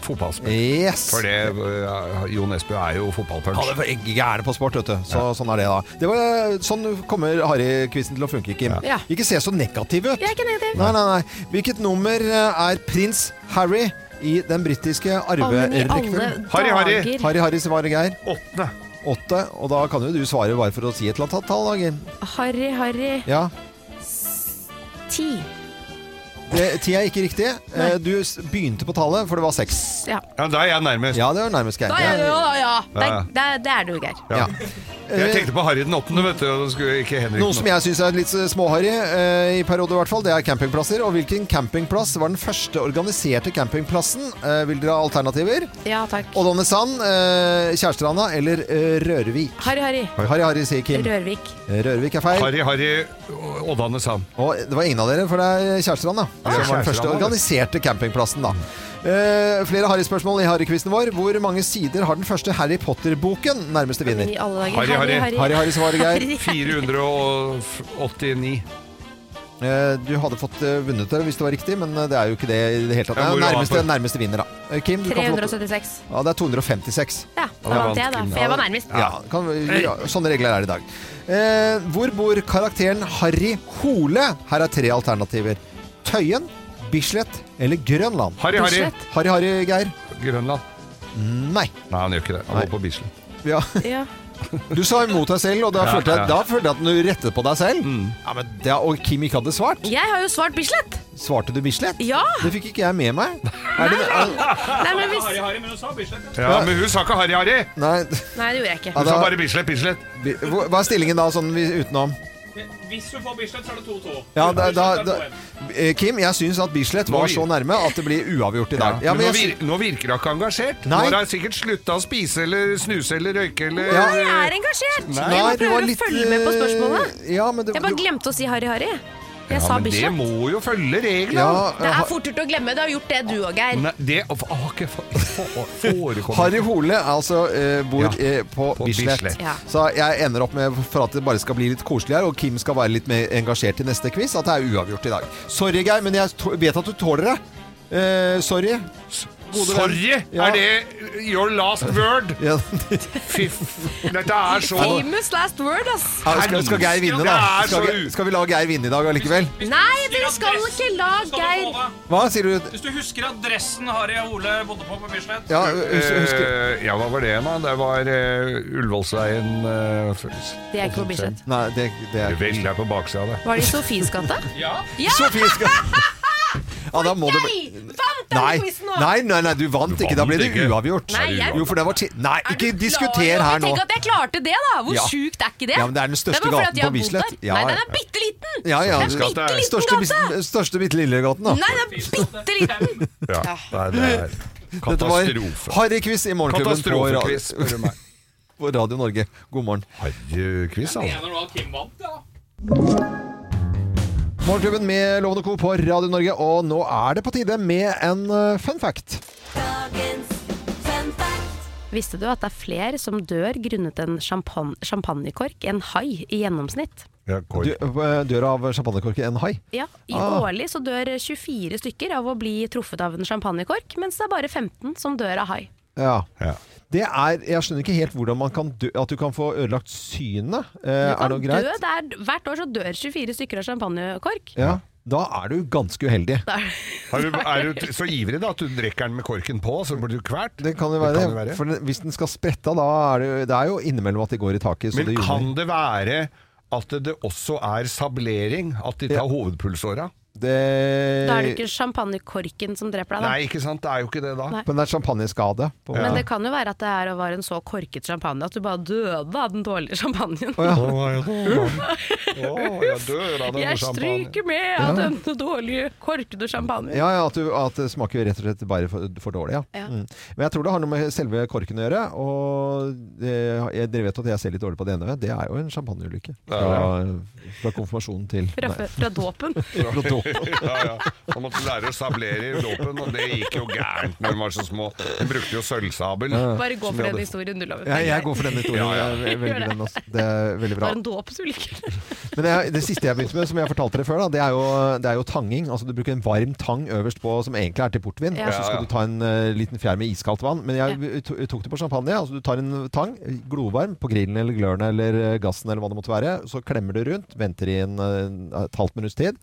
Yes.
For det, eh, Jon Esbø er jo fotballpunch.
Ja, det er gærne på sport, vet du. Så, Sånn er det, da. Det var, sånn kommer Harry-quizen til å funke, Kim.
Ja.
Ikke se så negativ ut.
Jeg er ikke negativ.
Nei, nei, nei. Hvilket nummer eh, er prins Harry i den britiske
men i alle
arverekkefølgen?
Harry, Harry. dager.
Harry, Harry, svarer Geir.
Åtte.
Åtte. Og da kan jo du svare bare for å si et eller annet tall, da, Kim.
Harry, Harry
Ja.
Ti.
Det- Ti er ikke riktig. Eh, Du s- begynte på tallet, for det var seks.
Ja.
Ja, da er jeg nærmest.
Ja, det er nærmest Geir.
Da er det jo, da, ja. Det,
Ja.
er- det, er- det er du, Geir.
Ja. Jeg tenkte på Harry den åttende, vet du. og så skulle Ikke Henrik
Noe som jeg syns er litt eh, småharry, eh, i perioder i hvert fall, det er campingplasser. Og hvilken campingplass var den første organiserte campingplassen? Eh, vil dere ha alternativer?
Ja, takk.
Oddane Sand, eh, Kjærstranda eller eh, Rørvik?
Harry, Harry.
Harry Harry, sier Kim. Eh,
Rørvik.
Rørvik er feil.
Harry, Harry, Ådane Sand.
Og det var ingen av dere, for det er Kjærstrand, da.
Ja,
Som var den første
Kjærstrand,
organiserte campingplassen, da. Eh, flere Harry-spørsmål i Harry-quizen vår. Hvor mange sider har den første Harry Potter-boken? Nærmeste vinner.
I alle dager.
Harry, Harry.
Harry, Harry svarer Geir.
489.
Eh, Du hadde fått eh, vunnet det hvis det var riktig, men eh, det er jo ikke det i det hele tatt.
Ja, hvor
Nei,
var han
nærmeste,
for?
nærmeste vinner, da. Eh, Kim, du kan få lov til
376.
ja, det er 256.
Ja, da
Ja,
vant jeg, da.
Kim,
For jeg var nærmest.
Ja, kan, ja, sånne regler er det i dag. Eh, hvor bor karakteren Harry Hole? Her er tre alternativer. Tøyen, Bislett eller Grønland?
Harry, Harry. Bislett.
Harry, Harry, Geir.
Grønland.
Nei.
Nei, han gjør ikke det. Han går på Bislett.
Ja. (laughs) Du sa imot deg selv, og da
Ja,
følte jeg,
ja. Mm.
da følte jeg at du rettet på deg selv. Ja, men det, og Kim ikke hadde svart.
Jeg har jo svart Bislett!
Svarte du Bislett?
Ja!
Det fikk ikke jeg med
(laughs)
meg. Er det, er,
Nei, men hvis...
Ja, men hun sa ikke Harry, Harry!
nei,
Nei, det gjorde jeg
Ja,
Hun
ikke.
da-
sa bare Bislett, Bislett.
vi- hvor- hva er stillingen da, sånn vi- utenom?
Hvis du får Bislett, så er det 2-2.
Ja, da,
Bislett
da,
er
da,
2-1.
eh, Kim, jeg syns at Bislett var så nærme at det blir uavgjort i dag.
Ja, men
jeg,
nå, vir nå virker hun ikke engasjert.
Nei.
Nå har hun sikkert slutta å spise eller snuse eller røyke eller
Ja.
Jeg er engasjert!
Nei,
jeg bare
det var
prøver
litt,
å følge med på spørsmålet.
eh, ja, men det-
Jeg bare glemte å si Harry, Harry. Jeg
Ja,
sa
men det
Bislett.
må jo følge reglene.
Ja, eh,
Det er fort gjort å glemme. Du har gjort det, du òg, Geir.
Nei, det å, å, ikke få- få- forekommer.
Harry Hole altså eh, bor
Ja.
eh, på,
På
Bislett.
Bislett. Ja.
Så jeg ender opp med, for at det bare skal bli litt koselig her, og Kim skal være litt mer engasjert i neste quiz, at det er uavgjort i dag. Sorry, Geir, men jeg to- vet at du tåler det. Eh, sorry. Gode venn.
Sorry!
Ja.
Er det your last word?
Ja. (laughs)
Fy f... Dette er så
Famous last word, ass.
Ja, skal, skal Geir vinne, da?
Det er så
Skal, Ge- skal vi la Geir vinne i dag allikevel?
Nei, dere skal ikke la Geir
Hva sier du?
Hvis du husker adressen Harry og Ole bodde på på Bislett
Ja, husk, husk.
Eh, ja, hva var det, da? Det var uh, Ullevålsveien uh,
Det er ikke på Bislett.
Nei, det, det er
Vel, det er på baksida av det.
Var det i Sofies gate?
(laughs)
Ja.
ja!
Sofie
(laughs)
skal Ja, da må
Jeg
det
vant
Nei,
denne quizen nå!
nei, nei, nei, du vant ikke. Da ble det
ikke.
uavgjort.
Nei, jeg-
Jo, for det var ti Nei, ikke diskuter
Klarer
her nå.
dere Tenk at jeg klarte det, da! Hvor
Ja.
sjukt er ikke det?
Ja, men det er den største
bare fordi
gaten
at jeg
på
har bodd
Bislett.
der.
Ja,
Nei,
ja.
den er bitte liten!
Ja, ja.
Den er bitte liten
Største,
gate!
bis- største bitte lille gaten, da.
Nei, den er bitte liten!
Ja, Nei, det er
Dette var
Katastrofe.
Harry-quiz i morgenklubben på, ra-
Katastrofequiz, spør du meg.
på Radio Norge. God morgen.
Harry-quiz, altså.
Jeg mener nå at Kim vant, ja.
Morgenklubben med Lovende Co. på Radio Norge, og nå er det på tide med en eh, fun fact.
Visste du at det er flere som dør grunnet en champan champagnekork enn hai i gjennomsnitt?
Du, eh, dør av champagnekorken en hai?
Ja, i
Ah.
Årlig så dør 24 stykker av å bli truffet av en champagnekork, mens det er bare 15 som dør av hai.
Ja. Det er, jeg skjønner ikke helt hvordan man kan dø, at du kan få ødelagt synet. Eh, er det noe
Du,
greit?
det er, hvert år så dør 24 stykker av champagnekork.
Ja. Da er du ganske uheldig.
Det er-
Er du, er du så ivrig da at du drikker den med korken på, så blir du kvert?
Det kan jo være det. For den- hvis den skal sprette, da er det, jo- det er jo innimellom at de går i taket. Så
Men
det gjorde
kan
de.
det være at det også er sablering? At de tar hovedpulsåra?
det
Da er det ikke champagnekorken som dreper deg, da.
Nei, ikke sant. Det er jo ikke det da.
Nei.
Men det er champagneskade. på en
Men
måte.
det kan jo være at det her var en så korket champagne at du bare døde av den dårlige champagnen.
Å, ja.
Å, jeg dør av denne
Jeg
champagnen.
stryker med av
Ja.
denne dårlige, korkede champagnen.
Ja, ja at, du, at det smaker rett og slett bare for, for dårlig. Ja.
Ja.
Mm. Men jeg tror det har noe med selve korken å gjøre. Og eh, jeg, dere vet at jeg ser litt dårlig på det ene. Det er jo en champagneulykke. Fra,
Ja,
fra konfirmasjonen til
Fra,
nei.
fra dåpen.
Fra dåpen.
ja, ja. Han måtte lære å sablere i dåpen, og det gikk jo gærent når de var så små. De brukte jo sølvsabel.
Bare gå
Som
for
de
den
hadde-
historien du lovet.
(laughs) Ja, jeg går for den historien. Jeg
Gjør
velger
det.
den også. Det er veldig
Det
bra.
var en dåpsulykke.
(laughs) Men jeg, det siste jeg begynte med, som jeg fortalte dere før, da, det, er jo, det er jo tanging. Altså Du bruker en varm tang øverst på, som egentlig er til portvin,
Ja.
og så skal
Ja, ja.
du ta en eh, liten fjær med iskaldt vann. Men jeg to- tok det på champagne. Altså Du tar en tang, glovarm, på grillen eller gløren eller eh, gassen eller hva det måtte være. Så klemmer du rundt, venter i en, eh, et halvt minutts tid.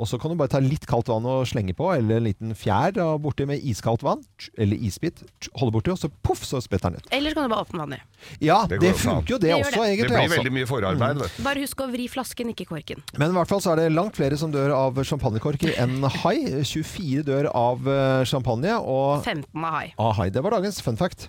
Og så kan du bare ta litt kaldt vann og slenge på, eller en liten fjær da, borti med iskaldt vann, tsk, eller isbit, tsk, holde borti, og så poff, så spretter den ut.
Ellers kan du bare åpne vannet.
Ja,
Det
det,
går jo faen.
funker jo det,
Det gjør
også,
det.
egentlig.
Det Mm. blir
altså.
veldig mye forarbeid, vet du.
Bare husk å vri flasken, ikke korken.
Men i hvert fall så er det langt flere som dør av champagnekorker enn hai. 24 dør av eh, champagne og
15 av hai.
av hai. Det var dagens fun fact.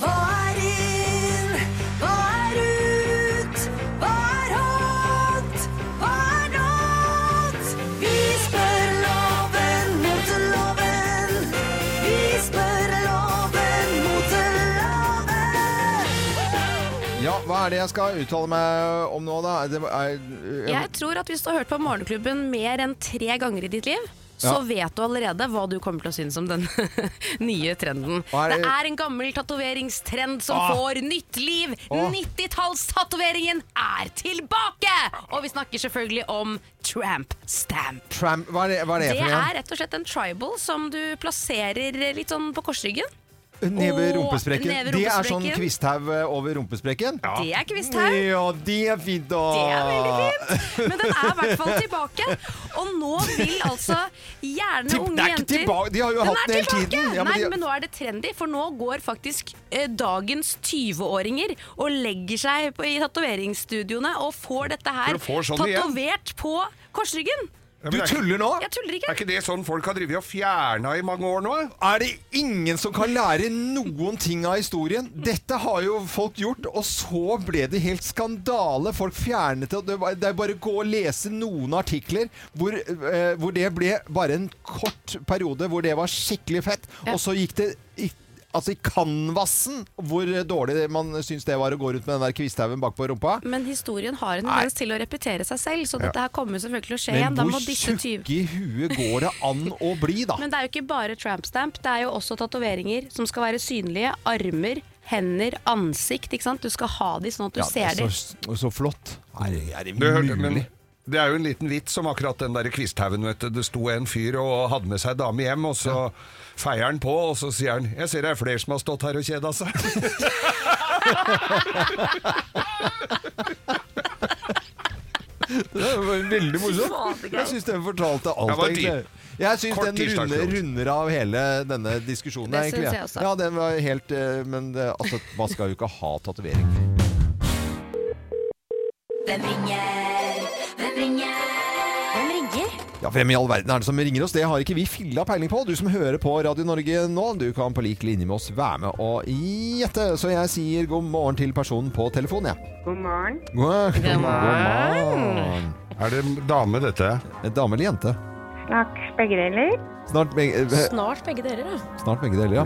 Hva er inn? Hva er ut? Hva er hot? Hva er not? Vi spør loven mot loven. Vi spør loven mot loven.
Ja, hva er det jeg skal uttale meg om nå, da? Det er,
Jeg tror at hvis du har hørt på Morgenklubben mer enn tre ganger i ditt liv, så
Ja.
vet du allerede hva du kommer til å synes om den (laughs) nye trenden.
Hva er
det?
det-
er en gammel tatoveringstrend som
Åh.
får nytt liv!
Åh.
90-tallstatoveringen er tilbake! Og vi snakker selvfølgelig om tramp stamp.
Tramp, hva er det, hva er det,
Det
for
er
noe?
rett og slett en tribal som du plasserer litt sånn på korsryggen.
Neve
Åh,
rumpesprekken.
neve
Det er sånn
rumpesprekken.
kvisthaug over rumpesprekken?
Det er kvisthaug.
Ja, det er fint, da.
Det er veldig Men den er i hvert fall tilbake. Og nå vil altså
Til-
gjerne
det
unge
er ikke
jenter
tilbake, de har jo
Den
hatt
er
den hele
tilbake!
tiden. Ja, men
Nei,
de-
men nå er det trendy, for nå går faktisk eh, dagens 20-åringer og legger seg på, i tatoveringsstudioene og får dette
For
her
å få sånn
tatovert på korsryggen.
Ja, men det er ikke-
Jeg tuller ikke.
Er ikke det sånn folk har drevet og fjerna i mange år nå?
Er det ingen som kan lære noen ting av historien? Dette har jo folk gjort, og så ble det helt skandale. Folk fjernet det. og Det var- det er bare å gå og lese noen artikler hvor, eh, hvor det ble bare en kort periode hvor det var skikkelig fett, og så gikk det i Altså i canvasen, hvor dårlig man syns det var å gå rundt med den der kvisthaugen bakpå rumpa.
Men historien har en tendens til å repetere seg selv, så
Ja.
dette her kommer selvfølgelig til å skje
Men
igjen. Da
hvor
må disse
tjukke i huet går det an å bli, da?
Men det er jo ikke bare tramp stamp, det er jo også tatoveringer som skal være synlige. Armer, hender, ansikt. ikke sant? Du skal ha de sånn at du
Ja,
ser de.
så, så flott. Er det, er det
Du hørte,
mulig?
men det er jo en liten vits om akkurat den der Kvisthaugen, vet du. Det sto en fyr og hadde med seg dame hjem, og så feier han på, og så sier han 'Jeg ser det er flere som har stått her og kjeda seg'. (laughs)
Det var veldig morsomt.
Fader, gøy.
Jeg syns den fortalte
Det
alt,
var
egentlig. Jeg syns
Kort
den
tirsdag,
runder,
Claude.
runder av hele denne diskusjonen.
Det
egentlig.
syns jeg også.
Ja, den var helt eh, Men eh, altså, man skal jo ikke ha tatovering.
Hvem ringer? Hvem ringer? Hvem ringer?
Ja, Hvem i all verden er det som ringer oss? Det har ikke vi filla peiling på. Du som hører på Radio Norge nå, du kan på lik linje med oss være med og gjette. Så jeg sier god morgen til personen på telefonen, jeg.
God morgen.
God,
God morgen.
Er det dame, dette? Dame eller jente?
Slags begge deler.
Snart begge, eh,
Snart begge deler, da.
snart begge deler, ja.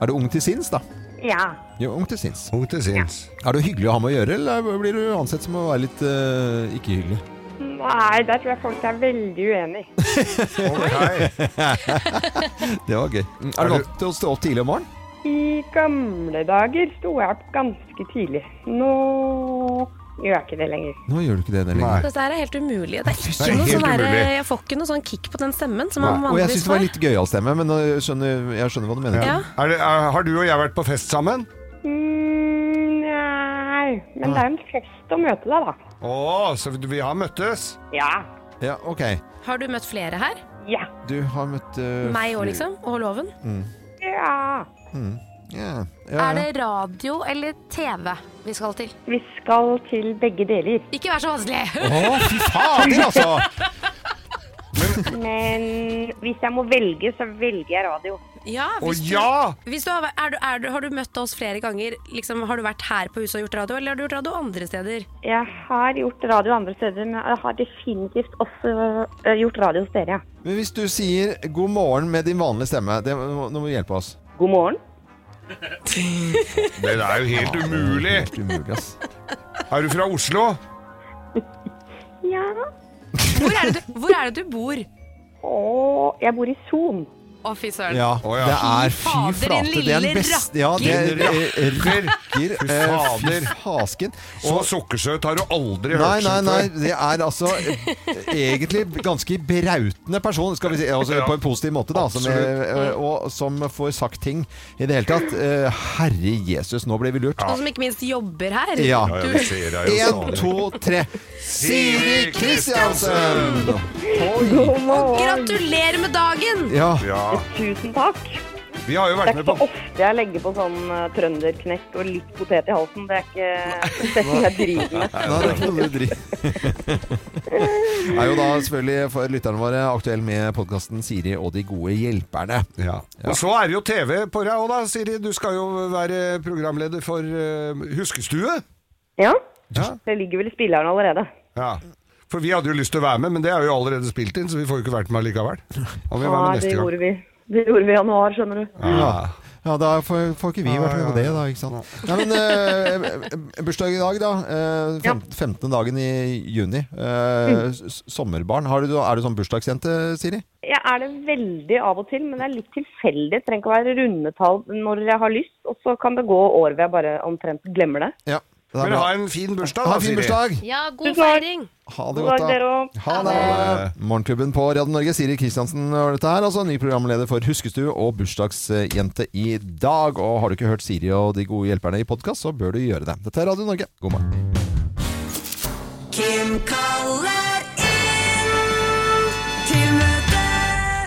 Er du ung til sinns, da?
Ja.
Jo, ung til sinns.
Ung til sinns.
Er du hyggelig å ha med å gjøre, eller blir du ansett som å være litt eh, ikke hyggelig?
Nei, der tror jeg folk er veldig uenige.
det var gøy. Mm, Er du vant til å stå opp tidlig om morgenen?
I gamle dager sto jeg opp ganske tidlig. Nå gjør jeg ikke det lenger.
Nå gjør du ikke det der lenger.
Dette her er helt umulig. Det er ikke
Det er
noe
helt
sånn der,
umulig.
jeg får ikke noe sånn kick på den stemmen som man
Nei. Og jeg
vanligvis
syns det var
får.
litt gøyal stemme, men jeg skjønner, jeg skjønner hva du mener.
Ja.
Er det, er, har du og jeg vært på fest sammen?
Mm, nei, men det er jo
Ah.
en fest å møte deg, da.
Å, så vi har møttes?
Ja.
Ja, ok.
Har du møtt flere her?
Ja.
Du har møtt eh,
Meg òg,
fl-
liksom? Og Loven?
Mm.
Ja.
Mm. Ja. Ja,
Er det
ja.
radio eller TV vi skal til?
Vi skal til begge deler.
Ikke vær så vanskelig!
Å, fy fader, altså!
Men hvis jeg må velge, så velger jeg radio.
(laughs) Ja, hvis du, hvis du har, vært- er du, er du, har du møtt oss flere ganger? Liksom, har du vært her på huset og gjort radio, eller har du gjort radio andre steder?
Jeg har gjort radio andre steder, men jeg har definitivt også ø, gjort radio hos dere. ja.
Men hvis du sier 'god morgen' med din vanlige stemme, det, må- nå må du hjelpe oss.
God morgen.
Det er jo helt umulig.
Helt umulig, ass.
Er du fra Oslo?
Ja.
Hvor er det du, hvor er det du bor?
Å, jeg bor i Son.
Å, fy søren.
Ja, det er fy
fader,
flate.
din
Det er
lille
den beste Ja, det er
rakker.
eh,
Rakker.
rakker.
Fy
eh,
fader.
Fy hasken.
Så sukkersøt har du aldri
Nei, nei,
hørt som
nei.
før.
Det er altså eh, egentlig ganske brautende person, skal vi si. Altså,
Ja.
på en positiv måte, da. Som,
Absolutt.
eh, og som får sagt ting i det hele tatt. Eh, Herre Jesus, nå ble vi lurt.
Og som ikke minst jobber her.
Ja.
Du,
Én, to, tre. Siri Kristiansen!
God morgen.
gratulerer med dagen!
Ja.
Tusen takk.
Vi har jo
Det er
vært med
ikke
på
så ofte jeg legger på sånn ø, trønderknekk og litt potet i halsen. Det er ikke (laughs) det jeg driver med.
Nei, det er ikke noe du driver (laughs) Er jo da selvfølgelig for lytterne våre aktuell med podkasten Siri og de gode hjelperne. Ja.
Og så er det jo TV på deg òg, da, Siri. Du skal jo være programleder for eh, Huskestue.
Ja.
Ja.
Det ligger vel i spilleren allerede.
Ja. For vi hadde jo lyst til å være med, men det er jo allerede spilt inn, så vi får jo ikke vært med likevel. Og vi er
Nei,
med
det
neste gang.
gjorde vi. Det gjorde vi i januar, skjønner du.
Ja. Ja, da får, får ikke vi vært med på det, da. ikke sant? Nei, men eh, eh, Bursdag i dag, da. Eh, fem, 15. dagen i juni. Eh,
Mm.
s- s- sommerbarn. Har du, er du sånn bursdagsjente, Siri?
Jeg er det veldig av og til, men det er litt tilfeldig. Det trenger ikke å være rundetall når jeg har lyst, og så kan det gå år hvor jeg bare omtrent glemmer det.
Ja. Det er
Men
bra.
ha en fin bursdag,
Ha
da,
en fin
Siri.
bursdag!
Ja, god
Tusen takk.
feiring!
Ha det
God
godt,
dag, dere
da.
også.
Ha det. Morgenklubben på Radio Norge. Siri Kristiansen var dette her. Altså ny programleder for Huskestue og bursdagsjente i dag. Og har du ikke hørt Siri og de gode hjelperne i podkast, så bør du gjøre det. Dette er Radio Norge. God morgen.
Kim kaller inn til møte.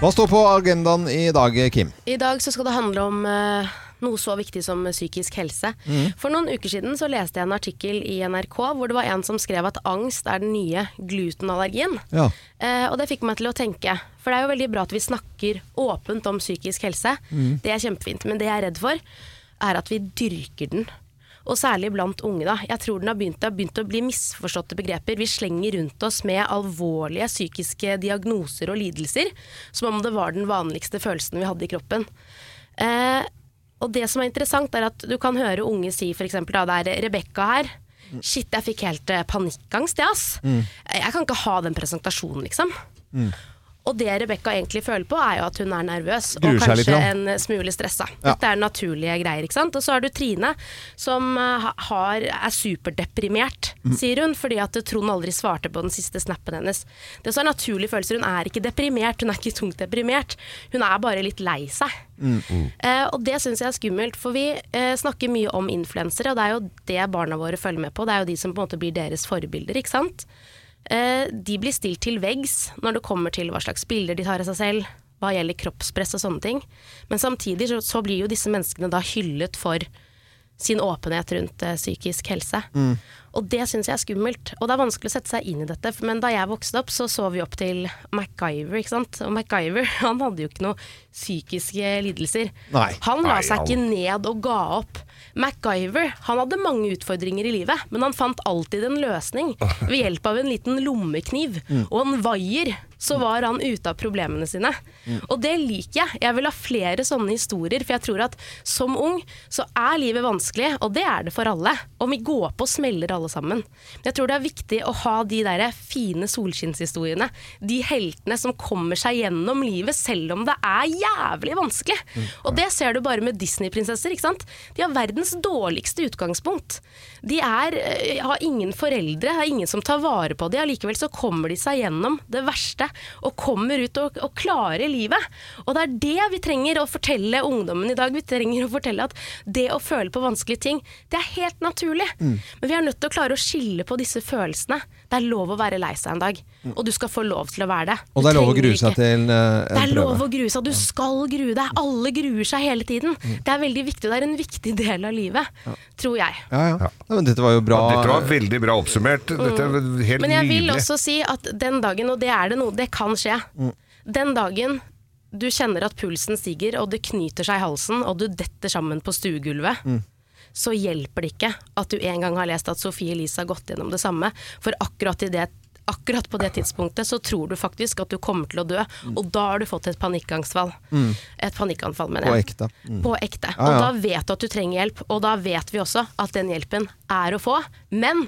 Hva står på agendaen i dag, Kim?
I dag så skal det handle om eh, noe så viktig som eh, psykisk helse.
Mhm.
For noen uker siden så leste jeg en artikkel i NRK hvor det var en som skrev at angst er den nye glutenallergien.
Ja.
Eh, og det fikk meg til å tenke, for det er jo veldig bra at vi snakker åpent om psykisk helse.
Mhm.
Det er kjempefint, men det jeg er redd for, er at vi dyrker den. Og særlig blant unge, da. Jeg tror den har begynt, det har begynt å bli misforståtte begreper. Vi slenger rundt oss med alvorlige psykiske diagnoser og lidelser, som om det var den vanligste følelsen vi hadde i kroppen. Eh, og det som er interessant, er at du kan høre unge si f.eks. da det er Rebekka her. Shit, jeg fikk helt eh, panikkangst, jeg, ass. Jeg kan ikke ha den presentasjonen, liksom.
Mm.
Og det Rebekka egentlig føler på, er jo at hun er nervøs og
Gruer seg
kanskje
litt, ja.
en eh, smule stressa.
Ja.
Dette er naturlige greier, ikke sant. Og så har du Trine, som eh, ha- har, er superdeprimert,
Mm.
sier hun, fordi at Trond aldri svarte på den siste snappen hennes. Det som er naturlige følelser, hun er ikke deprimert, hun er ikke tungt deprimert. Hun er bare litt lei seg.
Mm.
Eh, og det syns jeg er skummelt, for vi eh, snakker mye om influensere, og det er jo det barna våre følger med på. Det er jo de som på en måte blir deres forbilder, ikke sant. Eh, de blir stilt til veggs når det kommer til hva slags bilder de tar av seg selv, hva gjelder kroppspress og sånne ting. Men samtidig så, så blir jo disse menneskene da hyllet for sin åpenhet rundt eh, psykisk helse. Og det syns jeg er skummelt. Og det er vanskelig å sette seg inn i dette. Men da jeg vokste opp, så så vi opp til MacGyver, ikke sant. Og MacGyver, (laughs) han hadde jo ikke noe psykiske lidelser.
Nei.
Han la
Nei,
seg ikke
han-
ned og ga opp. MacGyver han hadde mange utfordringer i livet, men han fant alltid en løsning ved hjelp av en liten lommekniv
Mm.
og en vaier. Så var han ute av problemene sine.
Mm.
Og det liker jeg. Jeg vil ha flere sånne historier, for jeg tror at som ung så er livet vanskelig, og det er det for alle. Og vi går på og smeller alle sammen. Men jeg tror det er viktig å ha de der fine solskinnshistoriene. De heltene som kommer seg gjennom livet selv om det er jævlig vanskelig. Og det ser du bare med Disney-prinsesser, ikke sant? De har verdens dårligste utgangspunkt. De er, eh, har ingen foreldre, har ingen som tar vare på dem. Allikevel så kommer de seg gjennom det verste og kommer ut og, og klarer livet. Og det er det vi trenger å fortelle ungdommen i dag. Vi trenger å fortelle at det å føle på vanskelige ting, det er helt naturlig.
Mm.
Men vi er nødt til å klare å skille på disse følelsene. Det er lov å være lei seg en dag, og du skal få lov til å være det.
Og
Du
det er lov å
trenger
grue seg
ikke-
til en, eh,
det er
en
lov
prøve.
å grue seg, du skal grue deg. Alle gruer seg hele tiden.
Mm.
Det er veldig viktig, det er en viktig del av livet, tror jeg.
Ja, ja. Nei, men dette var jo bra.
Dette var veldig bra oppsummert. Dette er helt
Men jeg vil
nydelig.
også si at den dagen, og det er det noe, det kan skje,
Mm.
den dagen du kjenner at pulsen stiger, og det knyter seg i halsen, og du detter sammen på stuegulvet,
Mm.
så hjelper det ikke at du en gang har lest at Sophie Elise har gått gjennom det samme, for akkurat, i det, akkurat på det tidspunktet så tror du faktisk at du kommer til å dø, og da har du fått et panikkangstfall.
Mm.
Et panikkanfall, mener
På
jeg.
ekte. Mm.
På ekte.
Ja, ja.
Og da vet du at du trenger hjelp, og da vet vi også at den hjelpen er å få, men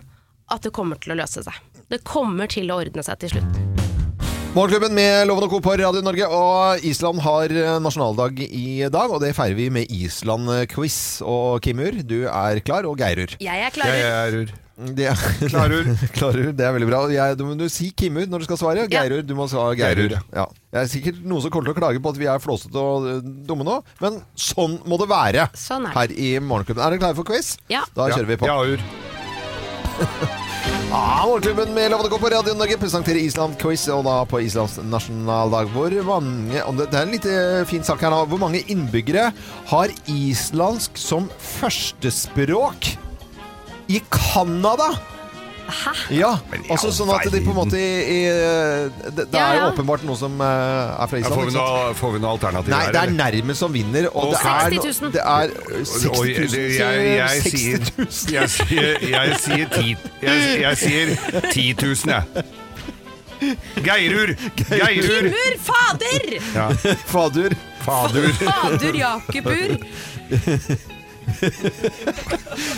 at det kommer til å løse seg. Det kommer til å ordne seg til slutt.
Morgenklubben med Loven og Co. på Radio Norge. Og Island har eh, nasjonaldag i dag, og det feirer vi med Island-quiz. Og Kimur, du er klar, og Geirur.
Jeg er klarer.
Det er, (laughs) Klarur. Det er veldig bra. Jeg, du må du si Kimur når du skal svare. Geirur, du må svare Geirur.
Geirur,
Ja. Det er sikkert noen som kommer til å klage på at vi er flåsete og øh, dumme nå, men sånn må det være
Sånn er det.
her i Morgenklubben. Er dere klare for quiz?
Ja.
Da
Ja.
kjører vi på.
Ja,
Ah, Morgenklubben med Lovende Co på Radio Norge presenterer Island-quiz, og da på Islands nasjonaldag. Hvor mange, og det det er en litt eh, fin sak her nå. Hvor mange innbyggere har islandsk som førstespråk i Canada?
Hæ?
Ja, altså sånn at de på en måte i, i, eh, det, det er
Ja,
jo
ja.
åpenbart noe som eh, er fra
Ja,
Island.
får, vi
ikke sant?
noe, får vi noe alternativ
Nei,
her,
det er
eller?
nærmest som vinner. Og det er,
60 000.
det er eh, 60 000.
Oi, jeg, jeg, sier,
60 000.
jeg, sier, jeg sier ti- jeg, jeg sier 10 000, jeg. Geirur! Geirur!
Kimur, fader!
Ja.
Fadur.
Fadur.
Fader Jakobur.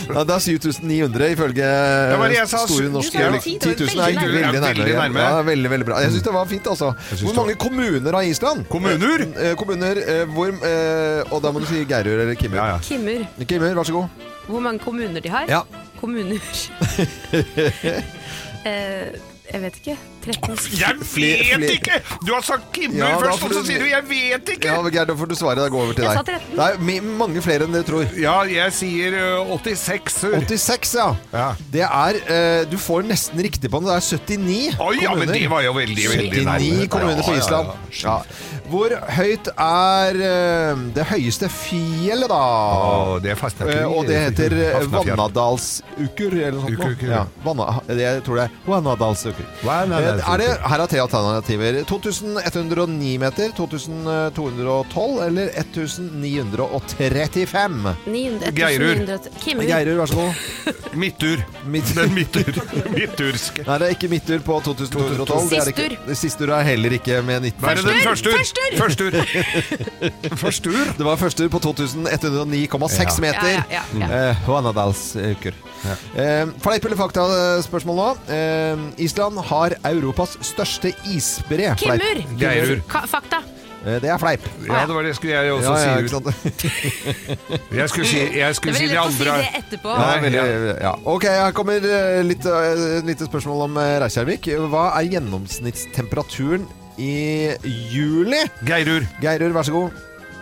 Ja, det er 7900 ifølge
Ja, hva er det jeg sa?
Store norske
Du sa
10
10
000 er veldig
Veldig
nærme.
nærme.
Veldig nærme. Ja, veldig, veldig bra. Jeg syns det var fint, altså.
synes
Hvor
det var-
mange kommuner har Island?
Kommuner?
Eh, eh, kommuner eh, hvor eh, Og da må du si Geirur eller Kimmer.
Kimmer,
Kimmer, vær så god.
hvor mange kommuner de har?
Ja.
Kommuner
(laughs)
eh, Jeg vet ikke. 13
Jeg vet ikke! Du har sagt Kimmer
Ja, da
først,
får
og så
du-
sier du 'jeg vet ikke'!
Ja, men Geir, da får du svare. Da går jeg over til
Jeg
deg.
sa
Det
13.
er mi- mange flere enn dere tror.
Ja, jeg sier ø, 86 ur.
86, ja. Det er eh, Du får nesten riktig på den. Det er 79
Oi, ja, men det var jo veldig, veldig
79
nærme.
kommuner på
Ja, ja,
Island. Ja. Hvor høyt er eh, det høyeste fjellet, da?
Å, det er Fastnafjell.
Eh, og det heter eh,
Fastnafjell.
Vannadalsukur, eller noe sånt. nå.
Ukur, ukur.
Ja, Vanna, jeg tror det er Vannadalsukur.
Vannadalsukur.
Eh, Er det, her er tre alternativer. 2109 meter, 2212 eller 1935?
900,
Geirur.
1900 Kimmer.
Geirur, vær så god.
Midtur. Den midtur. (laughs) Midturske.
Nei, det er ikke midtur på 2212. Det er det ikke.
Sistur.
Sistur er heller ikke med 19.
Hva er det den Førstur! Førstur! Førstur!
(laughs)
Det var førstur på 2109,6
Ja.
meter.
Ja, ja, ja,
Eh, Vanadalsukur. Eh, Fleip eller fakta-spørsmål nå. Eh, Island har Europas største isbre. Fleip.
Kimmer!
Geirur.
Ka- Fakta.
Eh, Det er fleip.
Ja, det var det skulle jeg også
Ja, ja,
si. Jeg skulle si, jeg skulle
Det
si
er veldig
de
lett å si
andre.
det etterpå.
Ja, det er veldig, ja. Ok, her kommer eh, litt, eh, et lite spørsmål om eh, Reykjavik. Hva er gjennomsnittstemperaturen i juli?
Geirur.
Geirur, vær så god.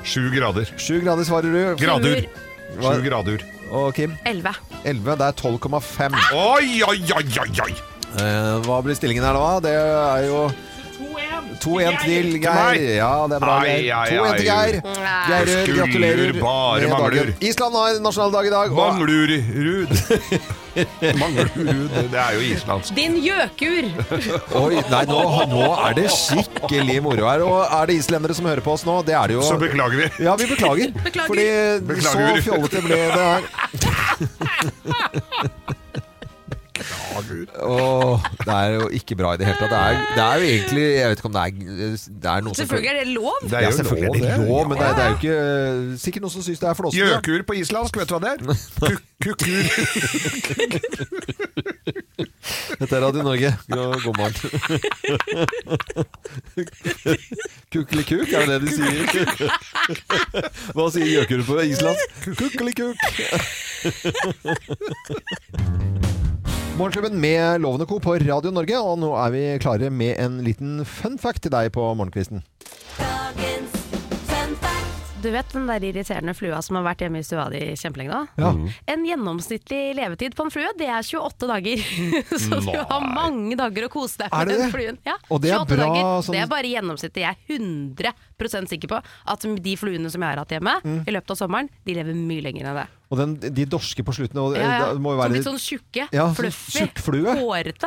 Sju grader.
Sju grader svarer du.
Gradur.
Hva-
Sju grader.
Og Kim?
11.
11. Det er 12,5.
Oi, oi, oi, oi, oi!
Eh, hva blir stillingen her nå? da? Det er jo 2-1 til Geir. Ja, det er bra.
Ai,
Geir.
ai,
2-1 til
ai.
Geir. Geir,
Skulle
gratulerer.
bare
med
mangler. (laughs)
dagen. Island har nasjonaldag i dag. og-
Manglurud. Mangler du det? Det er jo islandsk.
Din gjøkur!
Oi, nei, nå, nå er det skikkelig moro her. Og er det islendere som hører på oss nå? Det er det jo.
Så beklager vi.
Ja, vi beklager.
Beklager.
Fordi
Beklager.
så fjollete ble det her.
altså.
Åh, det er jo ikke bra i det hele tatt. Det er, det er jo egentlig Jeg vet ikke om det er, det er noe som-
Selvfølgelig er det lov.
Det er jo selvfølgelig lov, det er lov, men det er, det er jo ikke sikkert noen som syns det er flåsete.
Gjøkur på islandsk, vet du hva det er? Ku- Kukur.
Dette er Radio Norge. God, god morgen. Kukkelikuk, er det det de sier? Hva sier gjøkur på islandsk? Kukkelikuk. Morgenklubben med Lovende Co. på Radio Norge, og nå er vi klare med en liten fun fact til deg på morgenkvisten.
Du vet den der irriterende flua som har vært hjemme i stua di kjempelenge nå?
Mm.
En gjennomsnittlig levetid på en flue, det er 28 dager. (laughs) Så du har
Nei.
mange dager å kose deg
Er
med
det
den
det?
fluen. Ja,
Og det er
28
bra
dager.
sånn-
Det er bare gjennomsnittet. Jeg er 100 sikker på at de fluene som jeg har hatt hjemme
Mm.
i løpet av sommeren, de lever mye lenger enn det.
Og den, de dorske på slutten og,
Ja, ja.
det
Som
Eh, må jo være
litt sånn tjukke,
Ja, sånn
fluffy,
tjukk flue.
hårete.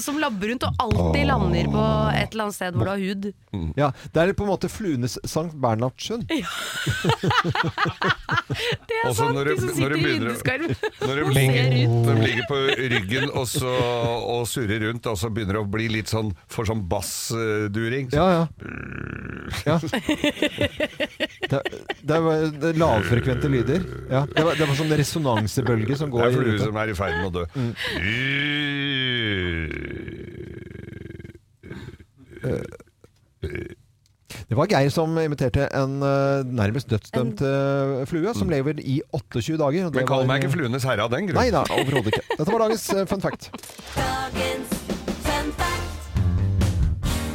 (laughs) som labber rundt og alltid lander på et eller annet sted hvor du har hud.
Ja, Det er på en måte fluenes Sankt Bernhardssund.
Det er
Og så
sant,
når
de som
du- når
sitter
du
i
begynner
vinduskarm.
å- Når de
og (laughs)
ligger,
ser ut.
når de ligger på ryggen og, så, og surrer rundt, og så begynner det å bli litt sånn for sånn bassduring.
Ja, ja. (laughs) ja. Det, det var det er lavfrekvente lyder. Ja, det, var, det var sånn resonansebølge som
Det
går Mm.
er flue
rundt.
som er i ferd med å dø. Mm.
Det var Geir som imiterte en eh, nærmest dødsdømt eh, flue, som lever i 28 dager. og det
Men kall
var-
meg ikke Fluenes herre av den grunn.
Nei da, overhodet ikke. Dette var dagens eh, fun fact.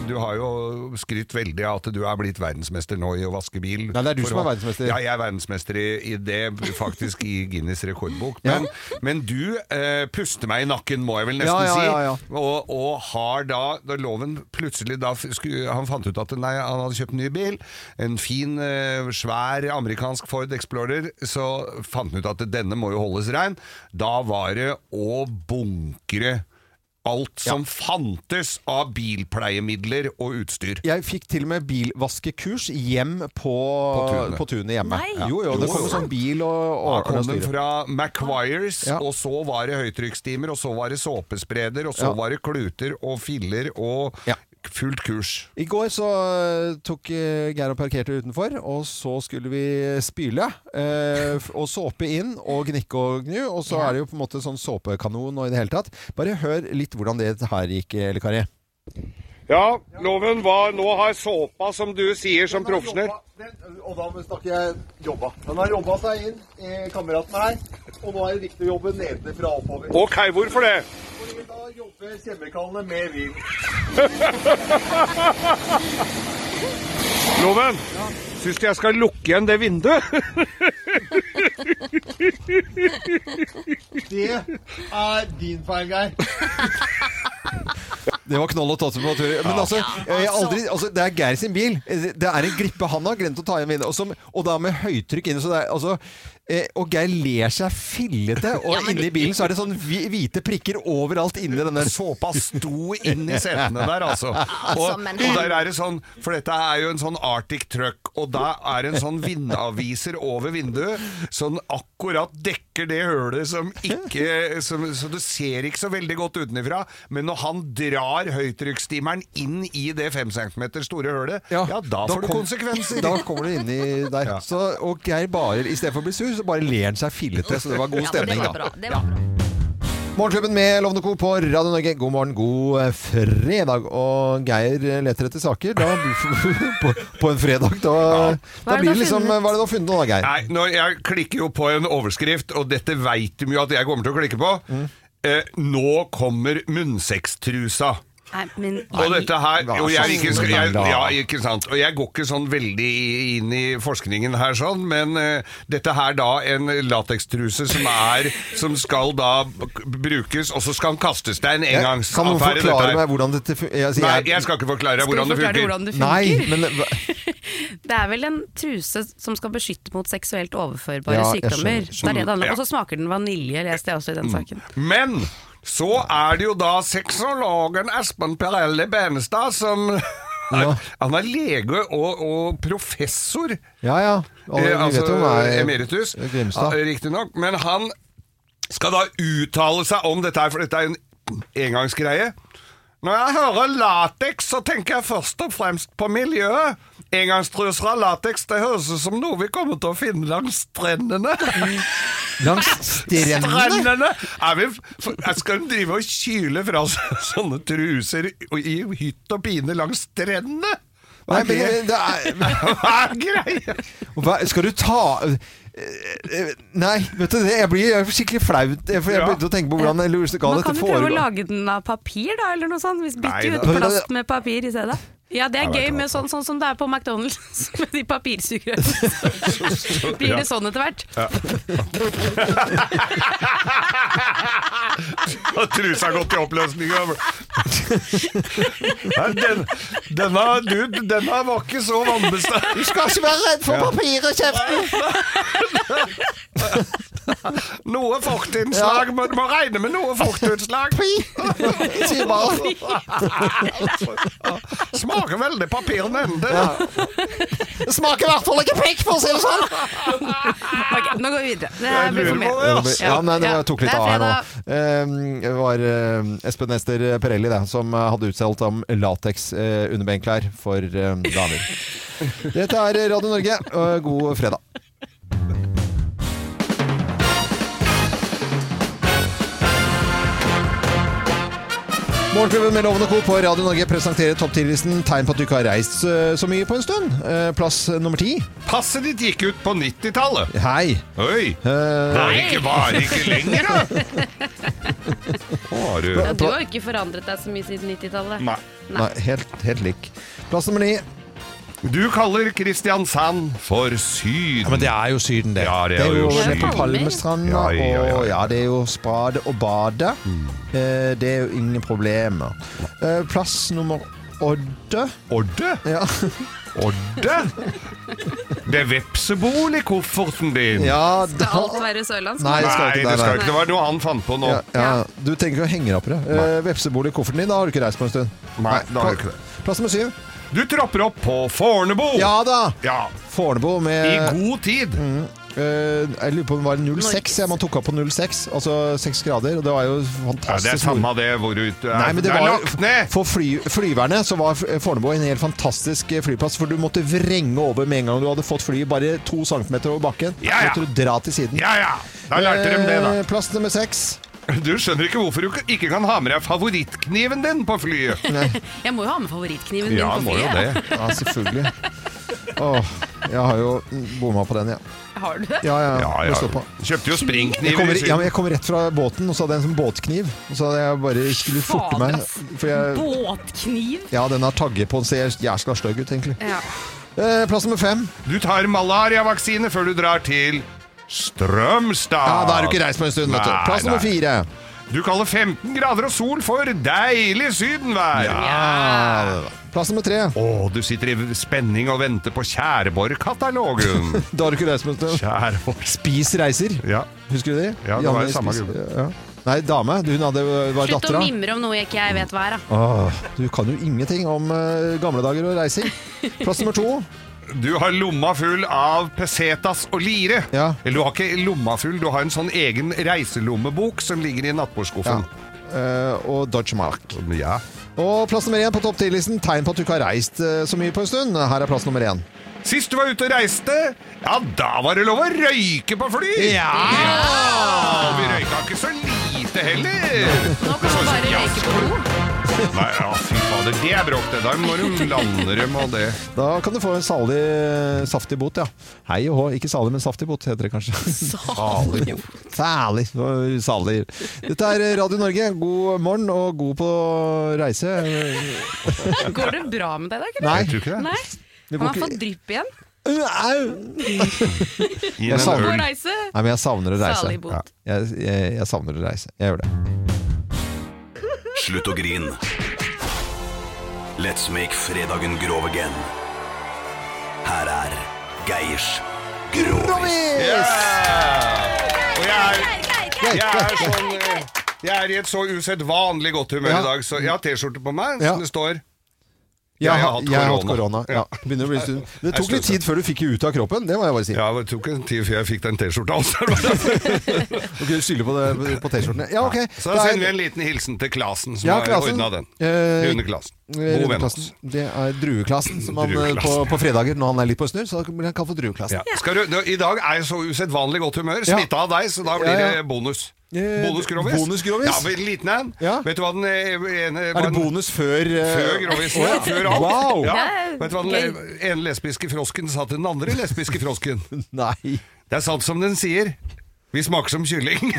Du har jo skrytt veldig av at du er blitt verdensmester nå i å vaske bil.
Nei, det er du
For
som er
å-
verdensmester.
Ja, jeg er verdensmester i, i det, faktisk i Guinness rekordbok. Men, men du eh, puster meg i nakken, må jeg vel nesten
Ja, ja,
si.
ja, ja.
Og, og har da, da loven plutselig da f- sku, Han fant ut at nei, han hadde kjøpt en ny bil. En fin, eh, svær amerikansk Ford Explorer. Så fant han ut at denne må jo holdes rein. Da var det å bunkre alt som fantes av bilpleiemidler og utstyr.
Jeg fikk til og med bilvaskekurs hjem på,
tunet.
på tunet hjemme.
Nei.
Jo, jo, det
Jo,
kom
jo.
sånn bil og
Da
og-
kom
og
den
styre.
fra Macquires,
Ja.
og så var det høytrykksstimer, og så var det såpespreder, og så
Ja.
var det kluter og filler og fullt kurs.
I går så eh, tok eh, Geir og parkerte utenfor, og så skulle vi spyle. eh, f- Og såpe inn og gnikke og gnu, og så er det jo på en måte sånn såpekanon og i det hele tatt. Bare hør litt hvordan det her gikk, eh, Elle Kari.
Ja, loven var Nå har såpa, som du sier som profesjonell
Og da snakker jeg jobba. Den har jobba seg inn, eh, kameraten her. Og nå er det viktig å jobbe nedenfra og oppover.
Ok, hvorfor det?
Fordi da jobber kjemikaliene med vin.
Loven, syns du jeg skal lukke igjen det vinduet?
Det er din feil, Geir.
Det var knoll og tåte på tur. Men
Ja.
altså,
Ja,
jeg har
altså.
aldri, altså, det er Geir sin bil. Eh, Det er en glippe han har glemt å ta igjen vinduet. Og, som- og da med høytrykk inne. Så det er, altså, eh, og Geir ler seg fillete, og inni bilen så er det sånn hvi- hvite prikker overalt inni den der
Såpa sto inn i setene der, altså.
(laughs) Altså,
Og,
men-
og der er det sånn, for dette er jo en sånn Arctic truck, og da er det en sånn vindaviser over vinduet, sånn akkurat dekker det hølet som ikke som, Så du ser ikke så veldig godt utenifra, men når han drar høytrykksstimeren inn i det fem centimeter store hølet, ja, da får det
kom-
konsekvenser.
(laughs) Da kommer du inni der. Så, og Geir bare, istedenfor å bli sur, så bare ler han seg fillete. Så det var god stemning, da.
Det var bra.
Morgenklubben med Lovende Co. på Radio Norge. God morgen, god eh, fredag. Og Geir eh, leter etter saker da, (laughs) på, på en fredag. Da,
Hva er
da
det du
blir
har
det liksom
funnet?
Hva er det du har funnet nå, da, Geir?
Nei, nå, jeg klikker jo på en overskrift, og dette Mm. veit de jo at jeg kommer til å klikke på. Eh, nå kommer munnsextrusa.
Nei, men
Og dette her
Hva er
og jeg, er
sånn
ikke,
det
jeg,
er da?
ja, ikke sant. Og jeg går ikke sånn veldig i- inn i forskningen her, sånn, men eh, dette her da en latekstruse som er Som skal da b- brukes, og så skal den kastes. Det er en
Ja, Kan noen
engangsaffære, dette
forklare
her.
meg hvordan dette fu- altså,
Nei, jeg skal ikke forklare deg
Skal du
hvordan det
forklare
funker.
hvordan det funker? Nei, men
Det er vel en truse som skal beskytte mot seksuelt overførbare
Ja, jeg
sykdommer.
skjønner, skjønner.
Det er det det handler om.
Ja.
Og så smaker den vanilje, leste jeg også
Mm.
i den saken.
Men så er det jo da sexologen Espen Perelli Benestad som (laughs) Han er lege og, og professor.
Ja ja. Og,
Eh,
vi
altså,
vet jo hva er-
emeritus. eh,
Grimstad.
Riktignok. Men han skal da uttale seg om dette her, for dette er en engangsgreie. Når jeg hører lateks, så tenker jeg først og fremst på miljøet. Engangstruser av lateks, det høres ut som noe vi kommer til å finne langs
(laughs)
strendene.
Langs strendene?
Strendene! Er vi, for, jeg skal de drive og kyle fra seg altså (laughs) sånne truser i- i hytt og pine langs strendene?
Nei,
Hva er
men eh,
det?
det- det er-
(laughs) Hva er greia?
(laughs) Hva, skal du ta eh, eh, Nei, vet du det, jeg blir jeg blir skikkelig flaut. Jeg, for jeg begynte å tenke på hvordan eller, skal
Man
dette
kan jo prøve å
foregå.
lage den av papir, da, eller noe sånt. Hvis
Nei,
bytter ut
da.
plast med papir i stedet. Ja, det er
Jeg vet
gøy med sånn, sånn som det er på McDonald's, (laughs) med de papirsugerørene. Så Blir det sånn etter hvert?
Ja. Og trusa har gått i oppløsning. Nei, Den, denne, du, denne var ikke så vannbestemt.
Du skal ikke være redd for
Ja.
papir i
(laughs)
kjeften!
Noe fuktinnslag. men Du må regne med noe fuktinnslag.
Sier bare.
Smaker veldig papirnende.
Det smaker i hvert fall ikke pikk, for å si det sånn!
Ok, nå går vi videre. Det liksom
Ja,
her blir for mye.
ja, nei, det
Ja.
jeg tok litt
Det er
av her nå.
fredag.
Eh, Det var eh, Espen Ester Perelli det, som eh, hadde uttalt om lateks eh, underbenklær for eh, damer. Dette er Radio Norge, og god fredag. Morgenklubben med Lovende Co. på Radio Norge presenterer topp 10-listen tegn på at du ikke har reist eh, så mye på en stund. Eh, Plass eh, nummer ti.
Passet ditt gikk ut på 90-tallet.
Hei. Eh,
Oi!
Det
er ikke bare ikke lenger, da! Har du
Ja, du har jo ikke forandret deg så mye siden 90-tallet.
Nei.
Nei, helt, helt lik. Plass nummer ni.
Du kaller Kristiansand for Syden.
men det er jo Syden, det.
Ja, det
Det
er jo
nede på
Syden.
Palmestranda,
Ja, ja, ja, Mm. ja.
og ja, det er jo spade og bade. Eh, Det er jo ingen problemer. Eh, Plass nummer åtte.
Odde? (laughs)
Ja.
Odde? Det er vepsebol i kofferten din.
Ja,
Skal alt være sørlandsk?
Nei, det skal ikke det,
det skal
nei.
ikke. Det var noe han fant på nå.
Ja, ja. Du trenger ikke å henge deg opp i det. Eh, Vepsebol i kofferten din, da har du ikke reist på en stund.
Nei, da har
pla-
du ikke det.
Plass nummer syv.
Du tropper opp på Fornebu!
Ja da!
Ja.
Fornebu med
I god tid!
Mm. Eh, jeg lurer på om det var 06, ja, man tok opp på 06, altså 6 grader, og det var jo fantastisk.
Ja, det er samme det hvor du er.
Nei, men det
er
var,
nok.
jo- for fly, flyverne så var F- Fornebu en helt fantastisk eh, flyplass, for du måtte vrenge over med en gang du hadde fått flyet bare to centimeter over bakken.
Ja, ja.
Så måtte du dra til siden.
Ja, ja. Da lærte de det, da.
Eh, Plass nummer seks.
Du skjønner ikke hvorfor du ikke kan ha med deg favorittkniven din på flyet.
Jeg må jo ha med favorittkniven min
Ja,
på
må jo
flyet.
det.
Ja, selvfølgelig. (laughs) Åh, jeg har jo mm, bomma på den, ja.
Har du det?
Ja, ja,
Ja,
må
ja.
stå på.
Kjøpte jo
Jeg
springkniver
kommer,
i
ja, men
Syden.
jeg kommer rett fra båten, og så hadde jeg en sånn båtkniv. Og så hadde jeg bare skulle forte meg. For jeg,
Båtkniv?
ja, den har tagge på den, ser jæskla stygg ut, egentlig.
Ja.
Eh, plass nummer fem.
Du tar malariavaksine før du drar til Strømstad.
Ja, Ah, da har du ikke reist på en stund, vet du.
Nei,
Plass nummer
nei.
fire.
Du kaller 15 grader og sol for deilig sydenvær.
Plass nummer tre.
Å, du sitter i spenning og venter på
(laughs)
Kjæreborg-katalogen.
Da har du ikke reist på en stund. Spis reiser. Husker du de?
Ja, det
Janne
var jo samme
Spis-
gruppe.
Ja. Nei, dame. Hun hadde,
Slutt
var
å
dattera.
mimre om noe jeg ikke jeg vet hva er, da.
Åh, du kan jo ingenting om eh, gamle dager og reising. Plass nummer
(laughs)
to.
Du har lomma full av pesetas og lire. Eller du har ikke lomma full, du har en sånn egen reiselommebok som ligger i nattbordskuffen.
Eh, og Dodge Mark.
Ja.
Og plass nummer én på topp 10-listen. Tegn på at du ikke har reist eh, så mye på en stund. Her er plass nummer én.
Sist du var ute og reiste, ja, da var det lov å røyke på fly!
Ja!
Vi røyka ikke så lite heller.
Nå kan man bare røyke på do.
Nei, ja, fy fader, det er bråk, det. Da må du lande dem og det.
Da kan du få en salig, eh, saftig bot, ja. Hei og hå. Ikke salig, men saftig bot, heter det kanskje. (laughs)
Salig
Salig. Det var Salig. Dette er Radio Norge. God morgen og god på reise.
Går det bra med deg i dag? eller?
Nei. Jeg tror ikke det.
Nei.
Det går
Han har
ikke-
fått drypp igjen.
Jeg savner,
På
Nei,
reise.
men jeg savner å reise.
Salig bot.
Ja, jeg, jeg, jeg savner å reise. Jeg gjør det.
Slutt å grin. Let's make fredagen grov again. Her er Geirs Grovis.
Og jeg er, jeg er sånn eh, Jeg er i et så usedvanlig godt humør
Ja.
i dag, så jeg har T-skjorte på meg
Ja.
som det står
Jeg,
Jeg har
har,
hatt
jeg har hatt
korona.
korona. Ja. Begynner å bli stund. Men det tok litt tid før du fikk det ut av kroppen, det må jeg bare si.
Ja, det tok en tid før jeg fikk den T-skjorta også. (laughs)
Du kunne skylde på, det- på T-skjortene. Ja, ok.
Så da sender vi en liten hilsen til Klasen, som
Ja,
har
Klasen.
ordna den.
Eh,
Runeklassen. God venn av oss.
Runeklassen. Det er drueklassen som han eh,
Drueklassen.
på, på fredager, når han er litt på snurr, så blir han kalt for drueklassen.
Ja. Skal du, nå, I dag er jeg så usedvanlig godt humør.
Ja.
Smitta av deg, så da blir
Ja, ja.
det bonus.
Eh,
Bonusgrovis.
bonusgrovis.
Ja, men liten en. Vet du hva den eh, ene
Er det bonus før eh,
Før grovis.
å, ja.
Før alt.
Wow!
Ja. Vet du hva den le- ene lesbiske frosken sa til den andre lesbiske frosken?
Nei.
Det er sant som den sier. Vi smaker som kylling.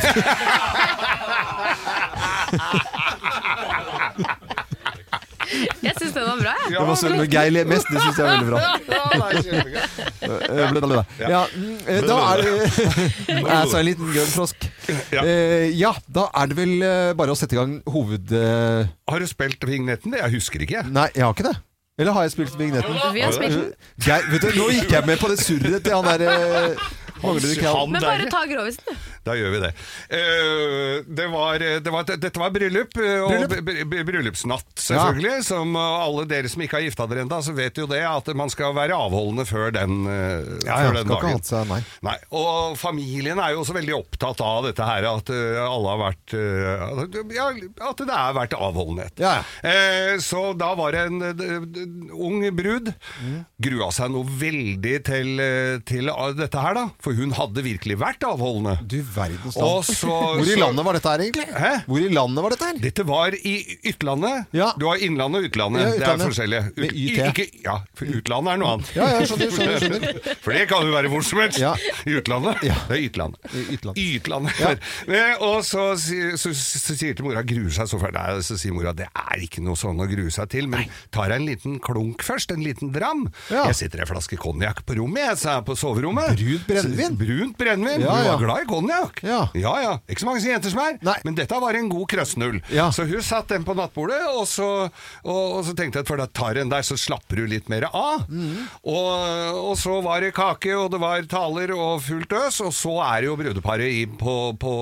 Jeg syns den var bra, jeg.
Det var søren med Geir le mest, det syns jeg er veldig bra. Eh, eh, ble det- Ja, mm, eh, da er
(laughs)
(laughs) det Altså en liten grønn frosk. Eh, Ja, da er det vel eh, bare å sette i gang hoved... eh,
Har du spilt vignetten? Jeg husker ikke, jeg.
Nei, jeg har ikke det. Eller har jeg spilt vignetten? Eh,
Vi har spilt den.
Geir, vet du, nå gikk jeg med på det surret til han der eh, Manglerud Kjell.
Han
Men
der.
bare ta grovisen, du.
Da gjør vi det. Eh, det var, det var, dette var bryllup, eh, og
Bryllup.
br- br- bryllupsnatt, selvfølgelig. Som eh, alle dere som ikke har gifta dere ennå, så vet jo det at man skal være avholdende før den, eh,
Ja, ja,
før
skal
den
ikke ha
dagen.
hatt seg, nei.
Nei, og familien er jo også veldig opptatt av dette her, at eh, alle har vært eh, ja, At det har vært avholdenhet. Eh, så da var det en eh, d- d- ung brud.
Mm.
Grua seg noe veldig til, eh, til ah, dette her, da. For hun hadde virkelig vært avholdende.
Du verdens land.
Og så,
Hvor i
så-
landet var dette her, egentlig?
Hæ?
Hvor i landet var dette her?
Dette var i Ytlandet. Du har Innlandet og Utlandet.
Ja,
Det
utlandet.
er forskjellig. Ut-
Med YT.
Ikke, ja, for Utlandet er noe annet.
Ja, ja, skjønner, skjønner,
(laughs) For det kan jo være hvor som helst. I Utlandet. Det er Ytlandet.
Ytlandet.
(laughs) Eh, Og så, si- så, så, så sier til mora 'gruer seg så fælt'. Nei, så sier mora 'det er ikke noe sånn å grue seg til', men tar jeg en liten klunk først? En liten dram? Jeg sitter i ei flaske konjakk på rommet, jeg, sa jeg, på soverommet. Brunt
brennevin?
Brunt brennevin.
Ja,
Hun
ja.
var glad i konjakk. Ja. ja Ikke så mange jenter som er, men dette var en god krøssnull. Så hun satt den på nattbordet, og så, og, og så tenkte jeg at for da tar jeg en der, så slapper hun litt mer av. Og, og så var det kake, og det var taler og fullt øs, og så er det jo brudeparet i, på, på,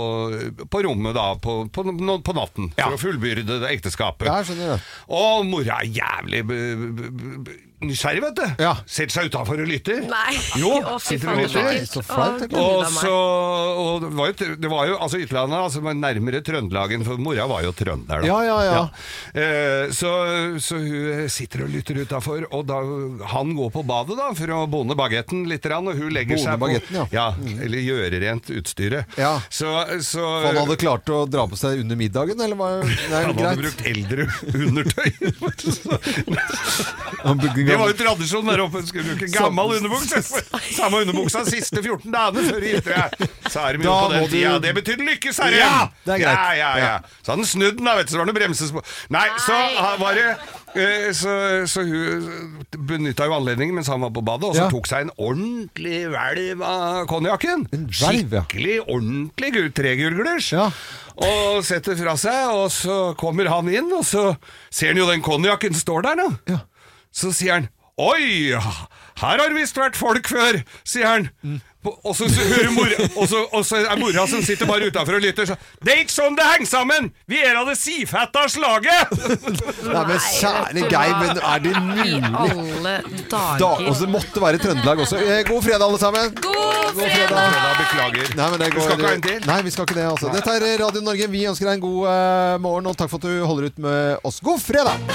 på rommet da, på, på, på natten, for å fullbyrde det ekteskapet.
Ja, jeg skjønner det.
Og mora er jævlig b- b- b- nysgjerrig, vet du. Setter seg utafor og lytter.
Nei.
Jo,
Å, fy
sitter og
faen,
lytter.
det er så flaut, egentlig.
Og
Å, Gud a meg.
så og det, var jo, t- det var jo altså Ytlandet, altså men nærmere Trøndelagen, for mora var jo trønder, da.
Ja, ja, ja.
Eh, så, så hun eh, sitter og lytter utafor, og da, han går på badet da for å bonde bagetten litt, grann, og hun legger seg på
Bone bagetten, ja. Mm.
Eller gjøre rent utstyret. Så, så
For Han hadde klart å dra på seg under middagen, eller var Nei,
han hadde
greit.
brukt eldre (laughs) undertøy.
Han brukte
Det var jo tradisjon der oppe. Skulle bruke gammel
(laughs)
underbukse. Samme underbuksa siste 14 dagene før du gifter deg. Så er de jo
Da
på den
må du-
tida. Det betyr lykke, Sverre!
Ja, det er greit.
Ja, ja, ja.
Ja.
Så hadde han snudd den, da, vet du. Så var det noen bremsespor. Nei, så ha- var det eh, så, så hun benytta jo anledningen mens han var på badet, og så
Ja.
tok seg en ordentlig hvelv av konjakken.
hvelv, ja.
Skikkelig ordentlig gu- tregulglers. Og setter fra seg, og så kommer han inn, og så ser han jo den konjakken står der, da. Så sier han Oi, her har visst vært folk før, sier han. Og så, så hører mora, og så, og så er mora som sitter bare utafor og lytter, så Det er ikke sånn det henger sammen! Vi er av det sifetta slaget!
Nei, men kjære Geir, men er det mulig?
Alle
Da,
dager.
og så måtte det være Trøndelag også. Eh, God fredag, alle sammen!
God
fredag!
Beklager.
Nei, men det går,
Vi skal ikke ha en til?
Nei, vi skal ikke det. altså. Dette er Radio Norge. Vi ønsker deg en god eh, morgen, og takk for at du holder ut med oss. God fredag!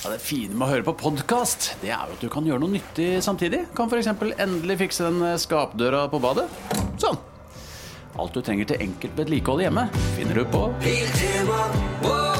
Ja, det fine med å høre på podkast, det er jo at du kan gjøre noe nyttig samtidig. Kan f.eks. endelig fikse den eh, skapdøra på badet. Sånn. Alt du trenger til enkelt vedlikehold hjemme, finner du på
Biltema, wow.